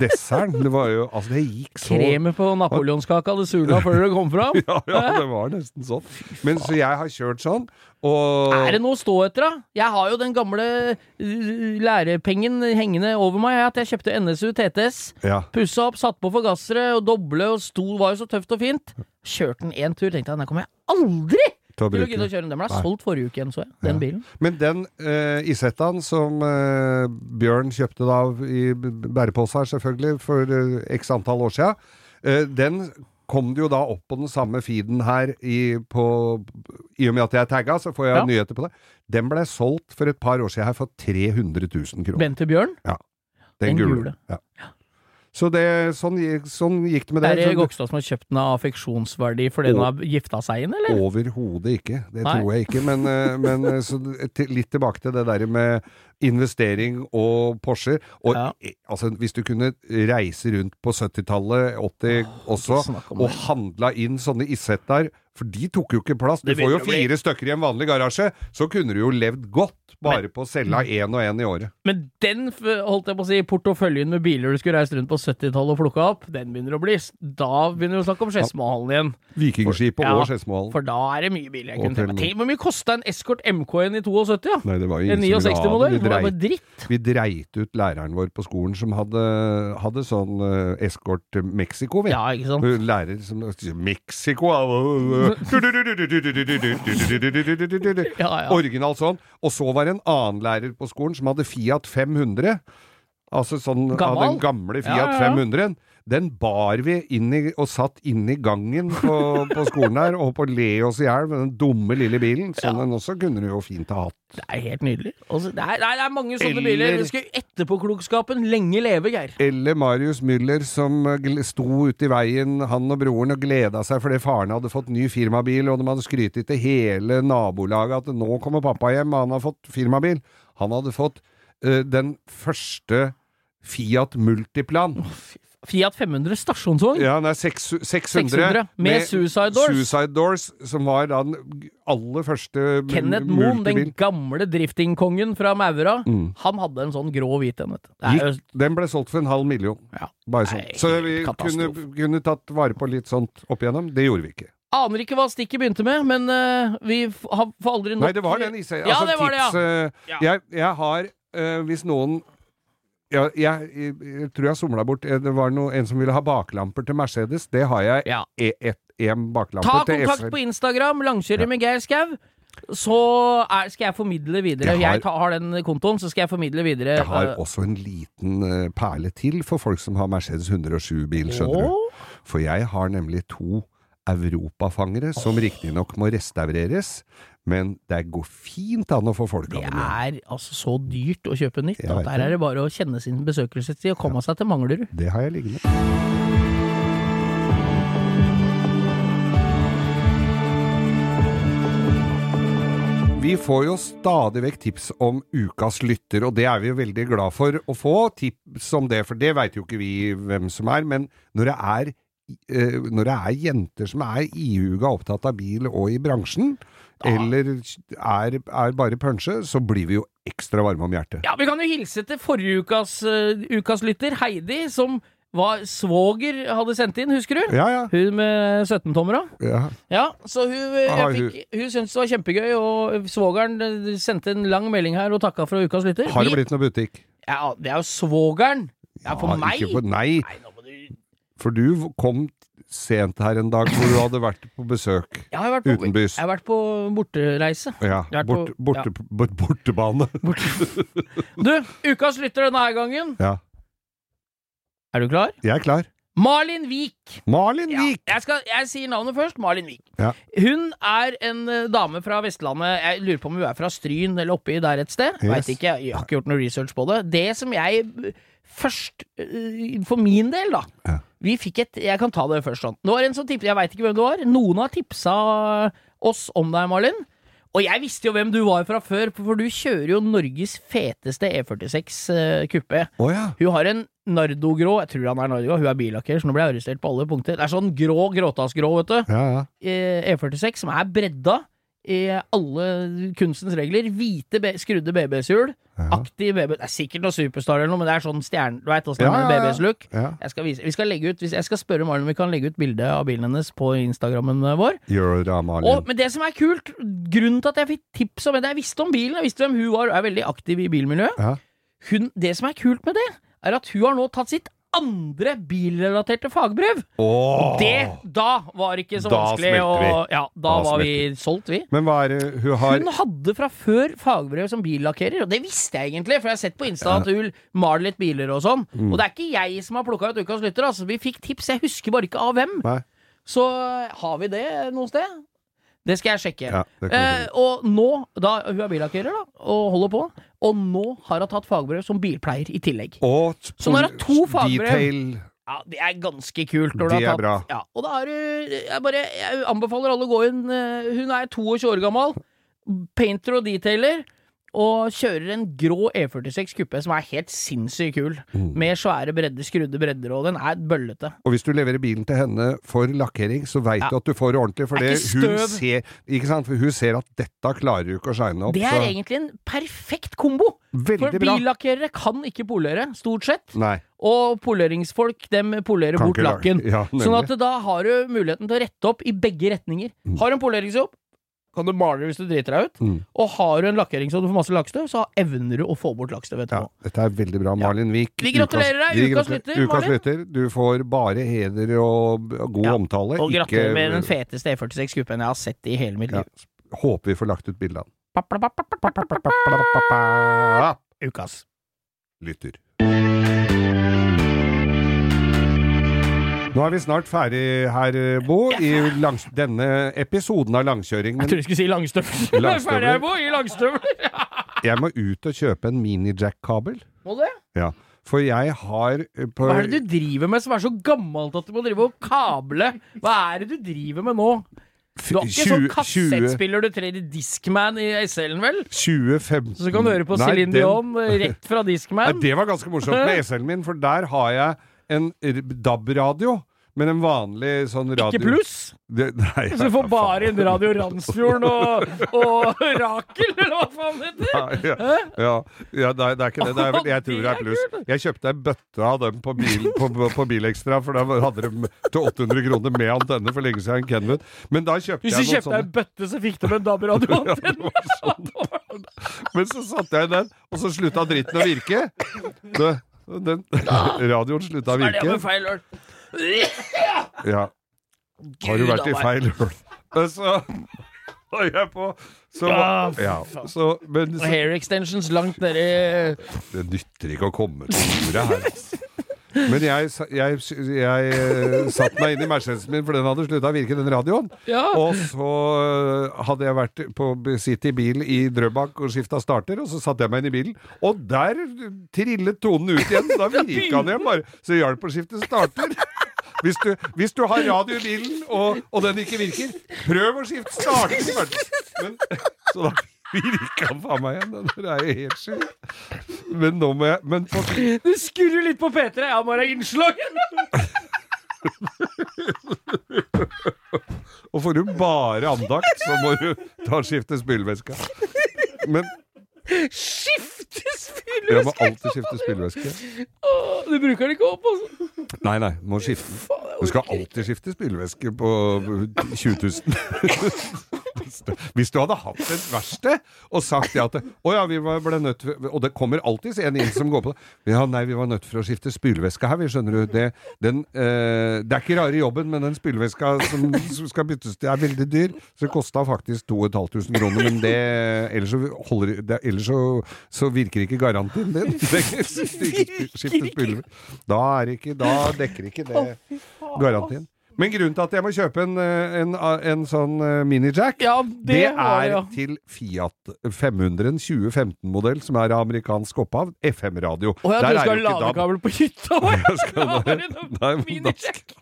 Speaker 2: Desserten. Det var jo Altså, det gikk så
Speaker 3: Kremet på napoleonskaka hadde sula før dere kom fram?
Speaker 2: Ja, ja, det var nesten sånn. Men så jeg har kjørt sånn, og
Speaker 3: Er det noe å stå etter, da? Jeg har jo den gamle øh, lærepengen hengende over meg, at jeg kjøpte NSU TTS.
Speaker 2: ja.
Speaker 3: Pussa opp, satt på forgassere og doble og sto, var jo så tøft og fint. Kjørte den én tur, tenkte jeg, den her kommer jeg aldri
Speaker 2: til å
Speaker 3: til å
Speaker 2: bruke
Speaker 3: gidde å
Speaker 2: den.
Speaker 3: kjøre. Den Den ble
Speaker 2: Nei.
Speaker 3: solgt forrige uke igjen, så jeg. Den
Speaker 2: Ja.
Speaker 3: bilen.
Speaker 2: Men den uh, Isettaen som eh, Bjørn kjøpte da i b- bærepose her, selvfølgelig, for eh, x antall år sia, den kom det jo da opp på den samme feeden her i, på, i og med at jeg er tagga, så får jeg
Speaker 3: Ja.
Speaker 2: nyheter på det. Den ble solgt for et par år siden her for 300 000 kroner.
Speaker 3: Bente Bjørn.
Speaker 2: Den,
Speaker 3: Den
Speaker 2: gule.
Speaker 3: gule.
Speaker 2: Ja. Så det, sånn, gikk- sånn gikk det med det.
Speaker 3: Er det
Speaker 2: Så
Speaker 3: Gokstad som har kjøpt den av affeksjonsverdi fordi den har gifta seg inn,
Speaker 2: det-
Speaker 3: eller?
Speaker 2: Overhodet ikke. Det
Speaker 3: Nei.
Speaker 2: tror jeg ikke. Men, eh, men eh, så, til- litt tilbake til det der med investering og Porscher. Og
Speaker 3: Ja.
Speaker 2: eh, altså, hvis du kunne reise rundt på 70-tallet, 80 også,
Speaker 3: snakk om
Speaker 2: og
Speaker 3: det.
Speaker 2: handla inn sånne Isettaer, for de tok jo ikke plass. Du
Speaker 3: Det
Speaker 2: får jo
Speaker 3: begynner å bli-
Speaker 2: fire stykker i en vanlig garasje. Så kunne du jo levd godt bare på å selge én og én i året.
Speaker 3: Men den, f- holdt jeg på å si, porteføljen med biler du skulle reist rundt på 70-tallet og plukka opp, den begynner å bli s- Da begynner du å snakke om Skedsmohallen igjen.
Speaker 2: Vikingskipet
Speaker 3: Ja,
Speaker 2: og Skedsmohallen.
Speaker 3: For da er det mye biler jeg
Speaker 2: Og
Speaker 3: kunne tenke meg.
Speaker 2: Telenor.
Speaker 3: Tenk hvor mye kosta en Escort MK-en i 72, ja?
Speaker 2: Nei, det var jo
Speaker 3: En
Speaker 2: ingen som ville ha
Speaker 3: 69-modell?
Speaker 2: det.
Speaker 3: Det
Speaker 2: Vi
Speaker 3: var
Speaker 2: dreit
Speaker 3: bare dritt.
Speaker 2: Vi dreit ut læreren vår på skolen som hadde, hadde sånn eh, eskort Mexico, vi.
Speaker 3: Ja, ikke sant?
Speaker 2: Hun Lærer som Mexico ja, øh, øh.
Speaker 3: Ja, ja.
Speaker 2: Original sånn. Og så var det en annen lærer på skolen som hadde Fiat 500. Altså sånn av
Speaker 3: Gammal?
Speaker 2: den gamle
Speaker 3: Ja,
Speaker 2: Fiat
Speaker 3: ja, ja.
Speaker 2: 500-en. Den bar vi inn i, og satt inn i gangen på, på skolen her, og på å le oss i hjel med den dumme lille bilen. Så den også kunne du jo fint ha hatt.
Speaker 3: Det er helt nydelig. Altså, det, er, nei, det er mange sånne
Speaker 2: Eller-
Speaker 3: biler. Vi skal etterpåklokskapen lenge leve, Geir.
Speaker 2: Eller Marius Müller som eh, gl- sto ute i veien, han og broren, og gleda seg fordi faren hadde fått ny firmabil, og de hadde skrytet til hele nabolaget at nå kommer pappa hjem, og han har fått firmabil. Han hadde fått eh, den første Fiat Multiplan.
Speaker 3: Fiat 500 stasjonsvogn.
Speaker 2: Ja, nei, seks- 600,
Speaker 3: 600, med Suicide Doors.
Speaker 2: Suicide Doors, som var da den aller første m-
Speaker 3: Kenneth Moen, den
Speaker 2: multibil.
Speaker 3: gamle driftingkongen fra Maura, han hadde en sånn grå hvit en, vet du. Det er jo
Speaker 2: Gikk, den ble solgt for en halv million.
Speaker 3: ja.
Speaker 2: Bare
Speaker 3: Nei,
Speaker 2: sånn. Så
Speaker 3: helt
Speaker 2: vi kunne,
Speaker 3: katastrofe.
Speaker 2: kunne tatt vare på litt sånt opp igjennom. Det gjorde vi ikke.
Speaker 3: Aner ikke hva stikket begynte med, men eh, vi f- har får aldri nok
Speaker 2: Nei, det var den isen.
Speaker 3: Ja,
Speaker 2: altså,
Speaker 3: det var det, ja.
Speaker 2: tips, eh,
Speaker 3: Ja.
Speaker 2: Jeg, jeg har eh, Hvis noen ja, jeg, jeg, jeg tror jeg somla bort eh, Det var noe, en som ville ha baklamper til Mercedes. Det har jeg.
Speaker 3: Ja.
Speaker 2: E, et, en baklampe
Speaker 3: Ta
Speaker 2: til
Speaker 3: kontakt
Speaker 2: FN.
Speaker 3: på Instagram, langkjører med Geir Skau. Så er, skal jeg formidle videre.
Speaker 2: Jeg
Speaker 3: Jeg,
Speaker 2: har-
Speaker 3: ta, har den kontoen, så skal jeg formidle videre.
Speaker 2: Jeg har
Speaker 3: eh,
Speaker 2: også en liten eh, perle til for folk som har Mercedes 107-bil, skjønner du.
Speaker 3: Åh.
Speaker 2: For jeg har nemlig to europafangere som riktignok må restaureres, men det går fint an å få folk
Speaker 3: Det
Speaker 2: av dem. igjen.
Speaker 3: er altså så dyrt å kjøpe nytt
Speaker 2: Jeg
Speaker 3: at
Speaker 2: vet
Speaker 3: der
Speaker 2: det.
Speaker 3: er det bare å kjenne sin besøkelsestid og komme seg til Manglerud.
Speaker 2: Det har jeg liggende. Vi får jo stadig vekk tips om ukas lytter, og det er vi jo veldig glad for å få tips om det, for det veit jo ikke vi hvem som er. Men når det er, eh, når det er jenter som er ihuga opptatt av bil og i bransjen, eller er, er bare punsje, så blir vi jo ekstra varme om hjertet.
Speaker 3: Ja, vi kan jo hilse til forrige ukas, eh, ukas lytter, Heidi, som var svoger hadde sendt inn, husker du?
Speaker 2: Ja, ja.
Speaker 3: Hun med 17-tommera.
Speaker 2: ja.
Speaker 3: Ja, så hun, eh,
Speaker 2: Ah,
Speaker 3: jeg fikk, hun syntes det var kjempegøy, og svogeren eh, sendte en lang melding her og takka for ukas lytter.
Speaker 2: Har
Speaker 3: Vi-
Speaker 2: det blitt noe butikk?
Speaker 3: Ja, det er jo svogeren! Det er for
Speaker 2: Ja,
Speaker 3: meg!
Speaker 2: Ikke for, nei.
Speaker 3: Nei, nå må du...
Speaker 2: For du kom sent her en dag hvor du hadde vært på besøk
Speaker 3: Jeg har vært på,
Speaker 2: utenbys.
Speaker 3: Jeg har vært på bortereise.
Speaker 2: Ja,
Speaker 3: Jeg har vært
Speaker 2: borte,
Speaker 3: på-
Speaker 2: borte, bort- bortebane.
Speaker 3: Du, ukas lytter denne her gangen.
Speaker 2: Ja,
Speaker 3: Er du klar?
Speaker 2: jeg er klar.
Speaker 3: Malin Vik.
Speaker 2: Malin
Speaker 3: Ja,
Speaker 2: Vik!
Speaker 3: jeg, skal, jeg sier navnet først. Malin Vik.
Speaker 2: Ja.
Speaker 3: Hun er en eh, dame fra Vestlandet. Jeg lurer på om hun er fra Stryn eller oppi der et sted.
Speaker 2: Yes.
Speaker 3: Veit ikke. Jeg har ikke gjort noe research på det. Det som jeg eh, først eh, For min del, da.
Speaker 2: Ja.
Speaker 3: Vi fikk et Jeg kan ta det først sånn. Det var en som tips- Jeg veit ikke hvem det var. Noen har tipsa oss om deg, Malin. Og jeg visste jo hvem du var fra før, for du kjører jo Norges feteste E46 eh, kuppe.
Speaker 2: Å ja.
Speaker 3: Hun har en nardogrå Jeg tror han er nardogrå, hun er billakker, så nå ble jeg arrestert på alle punkter. Det er sånn grå gråtassgrå, vet du.
Speaker 2: Ja, ja.
Speaker 3: Eh, E46, som er bredda i alle kunstens regler. Hvite, be skrudde BBS-hjul.
Speaker 2: Ja.
Speaker 3: Aktiv BB... Det er sikkert noe superstar eller noe, men det er sånn stjerne... Du veit åssen det
Speaker 2: Ja,
Speaker 3: er
Speaker 2: ja,
Speaker 3: med
Speaker 2: ja.
Speaker 3: BBS-look.
Speaker 2: ja.
Speaker 3: Jeg skal, vise, vi skal legge ut, hvis jeg skal spørre Malin om vi kan legge ut bilde av bilen hennes på Instagrammen vår.
Speaker 2: Gjør det, Malin.
Speaker 3: Og, men det som er kult, grunnen til at jeg fikk tips om henne Jeg visste om bilen, jeg visste hvem hun var, og er veldig aktiv i bilmiljøet
Speaker 2: Ja.
Speaker 3: hun, det som er kult med det, er at hun har nå tatt sitt andre bilrelaterte fagbrev.
Speaker 2: Åh!
Speaker 3: Det da var ikke så
Speaker 2: Ah. Da
Speaker 3: vanskelig.
Speaker 2: smelte
Speaker 3: Og, ja, da,
Speaker 2: Da
Speaker 3: var vi solgt, vi.
Speaker 2: Men hva er det hun har
Speaker 3: Hun hadde fra før fagbrev som billakkerer, og det visste jeg egentlig, for jeg har sett på Insta at hun maler litt biler og sånn.
Speaker 2: Mm.
Speaker 3: Og det er ikke jeg som har plukka ut ukas lytter, altså. Vi fikk tips, jeg husker bare ikke av hvem.
Speaker 2: Nei.
Speaker 3: Så har vi det noe sted? Det skal jeg sjekke.
Speaker 2: Ja, det kan vi
Speaker 3: Eh, og nå, da hun er billakkerer da, og holder på, og nå har hun tatt fagbrev som bilpleier i tillegg.
Speaker 2: Og
Speaker 3: Så nå har hun to fagbrev.
Speaker 2: Detail.
Speaker 3: Ja, det er ganske kult. når du
Speaker 2: Det
Speaker 3: har
Speaker 2: er
Speaker 3: tatt-
Speaker 2: bra.
Speaker 3: Ja, og da er du jeg, bare, jeg anbefaler alle å gå inn. eh, Hun er 22 år gammel, painter og detailer, og kjører en grå E46 kuppe som er helt sinnssykt kul.
Speaker 2: Mm.
Speaker 3: Med svære bredder, skrudde bredder, og den er bøllete.
Speaker 2: Og hvis du leverer bilen til henne for lakkering, så veit
Speaker 3: Ja.
Speaker 2: du at du får ordentlig, for
Speaker 3: Det er
Speaker 2: det hun
Speaker 3: ikke støv.
Speaker 2: ser Ikke sant? For hun ser at dette klarer du ikke å shine opp.
Speaker 3: Det er
Speaker 2: så-
Speaker 3: egentlig en perfekt kombo! For
Speaker 2: Veldig bra.
Speaker 3: billakkerere kan ikke polere, stort sett.
Speaker 2: Nei.
Speaker 3: Og poleringsfolk, dem polerer
Speaker 2: kan
Speaker 3: bort
Speaker 2: ikke lage-
Speaker 3: lakken.
Speaker 2: Ja,
Speaker 3: Sånn
Speaker 2: nemlig.
Speaker 3: at da har du muligheten til å rette opp i begge retninger. Har du en poleringsjobb, kan du male det hvis du driter deg ut.
Speaker 2: Mm.
Speaker 3: Og har du en lakkeringsjobb du får masse lakkstøv, så evner du å få bort lakkstøv
Speaker 2: Ja,
Speaker 3: etterpå.
Speaker 2: dette er veldig bra, Malin Vik.
Speaker 3: Vi gratulerer deg,
Speaker 2: vi
Speaker 3: ukas
Speaker 2: gratulerer-
Speaker 3: lytter,
Speaker 2: ukas
Speaker 3: Malin.
Speaker 2: lytter. Du får bare heder og b- god
Speaker 3: Ja,
Speaker 2: omtale.
Speaker 3: Og gratulerer med den
Speaker 2: fete
Speaker 3: feteste E46-kuppen jeg har sett i hele mitt
Speaker 2: Ja.
Speaker 3: liv.
Speaker 2: Håper vi får lagt ut bilde av den.
Speaker 3: Papp, papp, papp, papp, papp, papp, papp. Ukas.
Speaker 2: Lytter. Nå er vi snart ferdig her, eh, Bo, i langs denne episoden av langkjøring.
Speaker 3: Jeg
Speaker 2: Men
Speaker 3: trodde du skulle si langstøvler.
Speaker 2: Langstøvler.
Speaker 3: Ferdig her på, i langstøvler.
Speaker 2: jeg må ut og kjøpe en mini-jack-kabel.
Speaker 3: Må det?
Speaker 2: Ja. For jeg har eh, på,
Speaker 3: Hva er det du driver med som er så gammelt at du må drive og kable? Hva er det du driver med nå? Du har ikke sånn
Speaker 2: 20
Speaker 3: kassettspiller du trer i Discman i SL-en, vel?
Speaker 2: 2015
Speaker 3: Så kan du høre på
Speaker 2: Mm. Nei,
Speaker 3: Céline
Speaker 2: den-
Speaker 3: Dion eh, rett fra
Speaker 2: Nei,
Speaker 3: Discman.
Speaker 2: det var ganske morsomt med SL-en min, for der har jeg en r- DAB-radio. Men en vanlig sånn radio
Speaker 3: Ikke pluss!
Speaker 2: Det, nei,
Speaker 3: Så du får
Speaker 2: faen.
Speaker 3: bare inn Radio Randsfjorden og, og Rakel, eller hva faen det
Speaker 2: Ja,
Speaker 3: heter?
Speaker 2: ja, ja, ja det, er, det er ikke det. det er vel, jeg tror det er pluss. Jeg kjøpte ei bøtte av dem på, bil, på, på, på Bilextra, for da hadde de til 800 kroner med antenne for lenge siden. Kenwood. Men da kjøpte
Speaker 3: Hvis du
Speaker 2: jeg noen
Speaker 3: kjøpte
Speaker 2: sånne.
Speaker 3: ei bøtte, så fikk du en DAB-radioantenne!
Speaker 2: Men så satte jeg den, og så slutta dritten å virke. Det, den, radioen slutta å
Speaker 3: Hva er det
Speaker 2: virke.
Speaker 3: med feil øl?
Speaker 2: Ja. Har du
Speaker 3: Gud,
Speaker 2: vært i
Speaker 3: da,
Speaker 2: feil hull? Så var jeg på så,
Speaker 3: Ja, fy
Speaker 2: ja, så, men,
Speaker 3: Og
Speaker 2: så,
Speaker 3: hair extensions langt nedi
Speaker 2: Det nytter ikke å komme til ordet her. Men jeg, sa- jeg, jeg eh, satte meg inn i Mercedesen min, for den hadde slutta å virke, den radioen.
Speaker 3: Ja.
Speaker 2: Og så eh, hadde jeg vært på City Bil i Drøbak og skifta starter, og så satte jeg meg inn i bilen. Og der trillet tonen ut igjen! Da virka den igjen bare. Så hjalp å skifte starter. Hvis du, hvis du har radio i bilen, og, og den ikke virker, prøv å skifte starter først! Men, så da virka den faen meg igjen. Den der er jo helt sjuk. Men nå må jeg Men på
Speaker 3: Det skurrer litt på P3. Jeg må ha innslag!
Speaker 2: Og får du bare andakt, så må du ta og skifte spylevæske. Men
Speaker 3: Skifte
Speaker 2: jeg må
Speaker 3: spillhuske!
Speaker 2: alltid skifte spylevæske.
Speaker 3: Du bruker den ikke opp, altså.
Speaker 2: Nei, nei, må skifte. Du skal alltid skifte spylevæske på 20 000. Hvis du hadde hatt et verksted og sagt det at Å ja, vi var- ble nødt for- Og det kommer alltid en inn som går på det. Ja, nei, vi var nødt for å skifte spylevæske her, vi skjønner du. Det, den, eh, det er ikke rare jobben, men den spylevæska som, som skal byttes til, er veldig dyr. Så det kosta faktisk 2500 kroner, men det Ellers så, holder, det, ellers så, så virker ikke garantien din. Det ikke skifte spylevæske. Da er det ikke Da dekker ikke det garantien. Men grunnen til at jeg må kjøpe en, eh, en, en sånn eh, mini-jack,
Speaker 3: Ja,
Speaker 2: det,
Speaker 3: det, var det,
Speaker 2: er
Speaker 3: ja.
Speaker 2: til Fiat 500 2015-modell, som er av amerikansk opphav. FM-radio.
Speaker 3: Å ja,
Speaker 2: Der er jo
Speaker 3: du skal ha
Speaker 2: ikke DAB.
Speaker 3: ladekabel på hytta? oi.
Speaker 2: Jeg skal
Speaker 3: Da var det
Speaker 2: bare-
Speaker 3: noe
Speaker 2: Nei, men da-
Speaker 3: minisjekk.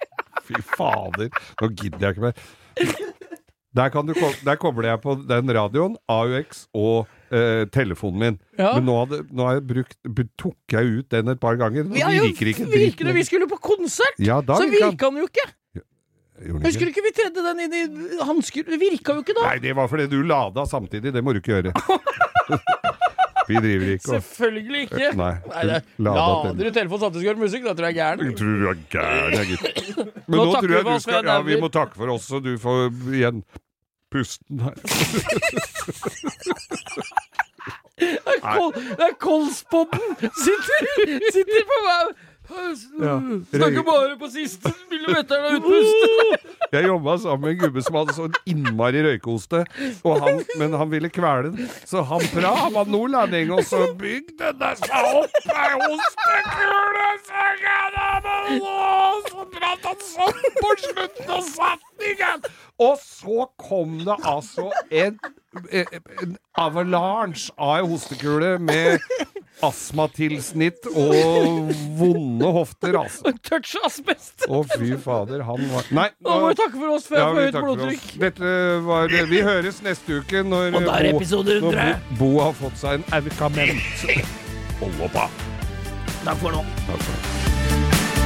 Speaker 2: Fy fader, nå gidder jeg ikke mer. Der, kan du, ko- der kobler jeg på den radioen, AUX og eh, telefonen min.
Speaker 3: Ja.
Speaker 2: Men nå, hadde, nå har jeg brukt, b- tok jeg ut den et par ganger. Nå
Speaker 3: Vi har jo
Speaker 2: virker ikke
Speaker 3: virker
Speaker 2: dritten.
Speaker 3: det, vi skulle på konsert,
Speaker 2: Ja, da
Speaker 3: så
Speaker 2: virker den.
Speaker 3: virka den jo ikke.
Speaker 2: Gjorde den
Speaker 3: Husker
Speaker 2: ikke.
Speaker 3: du ikke vi tredde den inn i hansker? Det virka jo ikke da.
Speaker 2: Nei, det var fordi du lada samtidig. Det må du ikke gjøre. Vi driver ikke og
Speaker 3: Selvfølgelig ikke.
Speaker 2: Nei.
Speaker 3: Nei, det,
Speaker 2: du lada
Speaker 3: lader du telefonen samtidig som du hører musikk, da tror jeg jeg er
Speaker 2: Jeg
Speaker 3: gæren.
Speaker 2: tror du er gæren, jeg, gutt. Men
Speaker 3: Nå
Speaker 2: nå,
Speaker 3: takker
Speaker 2: tror
Speaker 3: vi
Speaker 2: jeg
Speaker 3: for
Speaker 2: du
Speaker 3: oss,
Speaker 2: skal
Speaker 3: Fred
Speaker 2: Ja, vi
Speaker 3: Auger.
Speaker 2: må takke for oss, så du får igjen pusten her.
Speaker 3: Kol, det er Kolspodden! Sitter, sitter på hver
Speaker 2: Ja.
Speaker 3: Snakker bare på siste millimeteren av utpust.
Speaker 2: Jeg jobba sammen med en gubbe som hadde sånn innmari røykeoste, og han, men han ville kvele den. Så han pra, han var nordlending, og så bygde det seg opp ei ostekule, så kan han og så pratet han sånn på slutten av setningen! Og så kom det altså en, en avalanche av ei hostekule med astmatilsnitt og vonde hofter, altså.
Speaker 3: Touch asbest.
Speaker 2: Å, fy fader, han var Nei!
Speaker 3: Nå må vi takke for oss før jeg får
Speaker 2: vi
Speaker 3: høyt
Speaker 2: takker for oss.
Speaker 3: blodtrykk.
Speaker 2: Dette var det. Vi høres neste uke når, eh,
Speaker 3: Og da er
Speaker 2: Bo-
Speaker 3: episode
Speaker 2: når
Speaker 3: 100.
Speaker 2: Bo, Bo har fått seg en aukament. Hold opp, da.
Speaker 3: Takk for nå.
Speaker 2: Takk for det.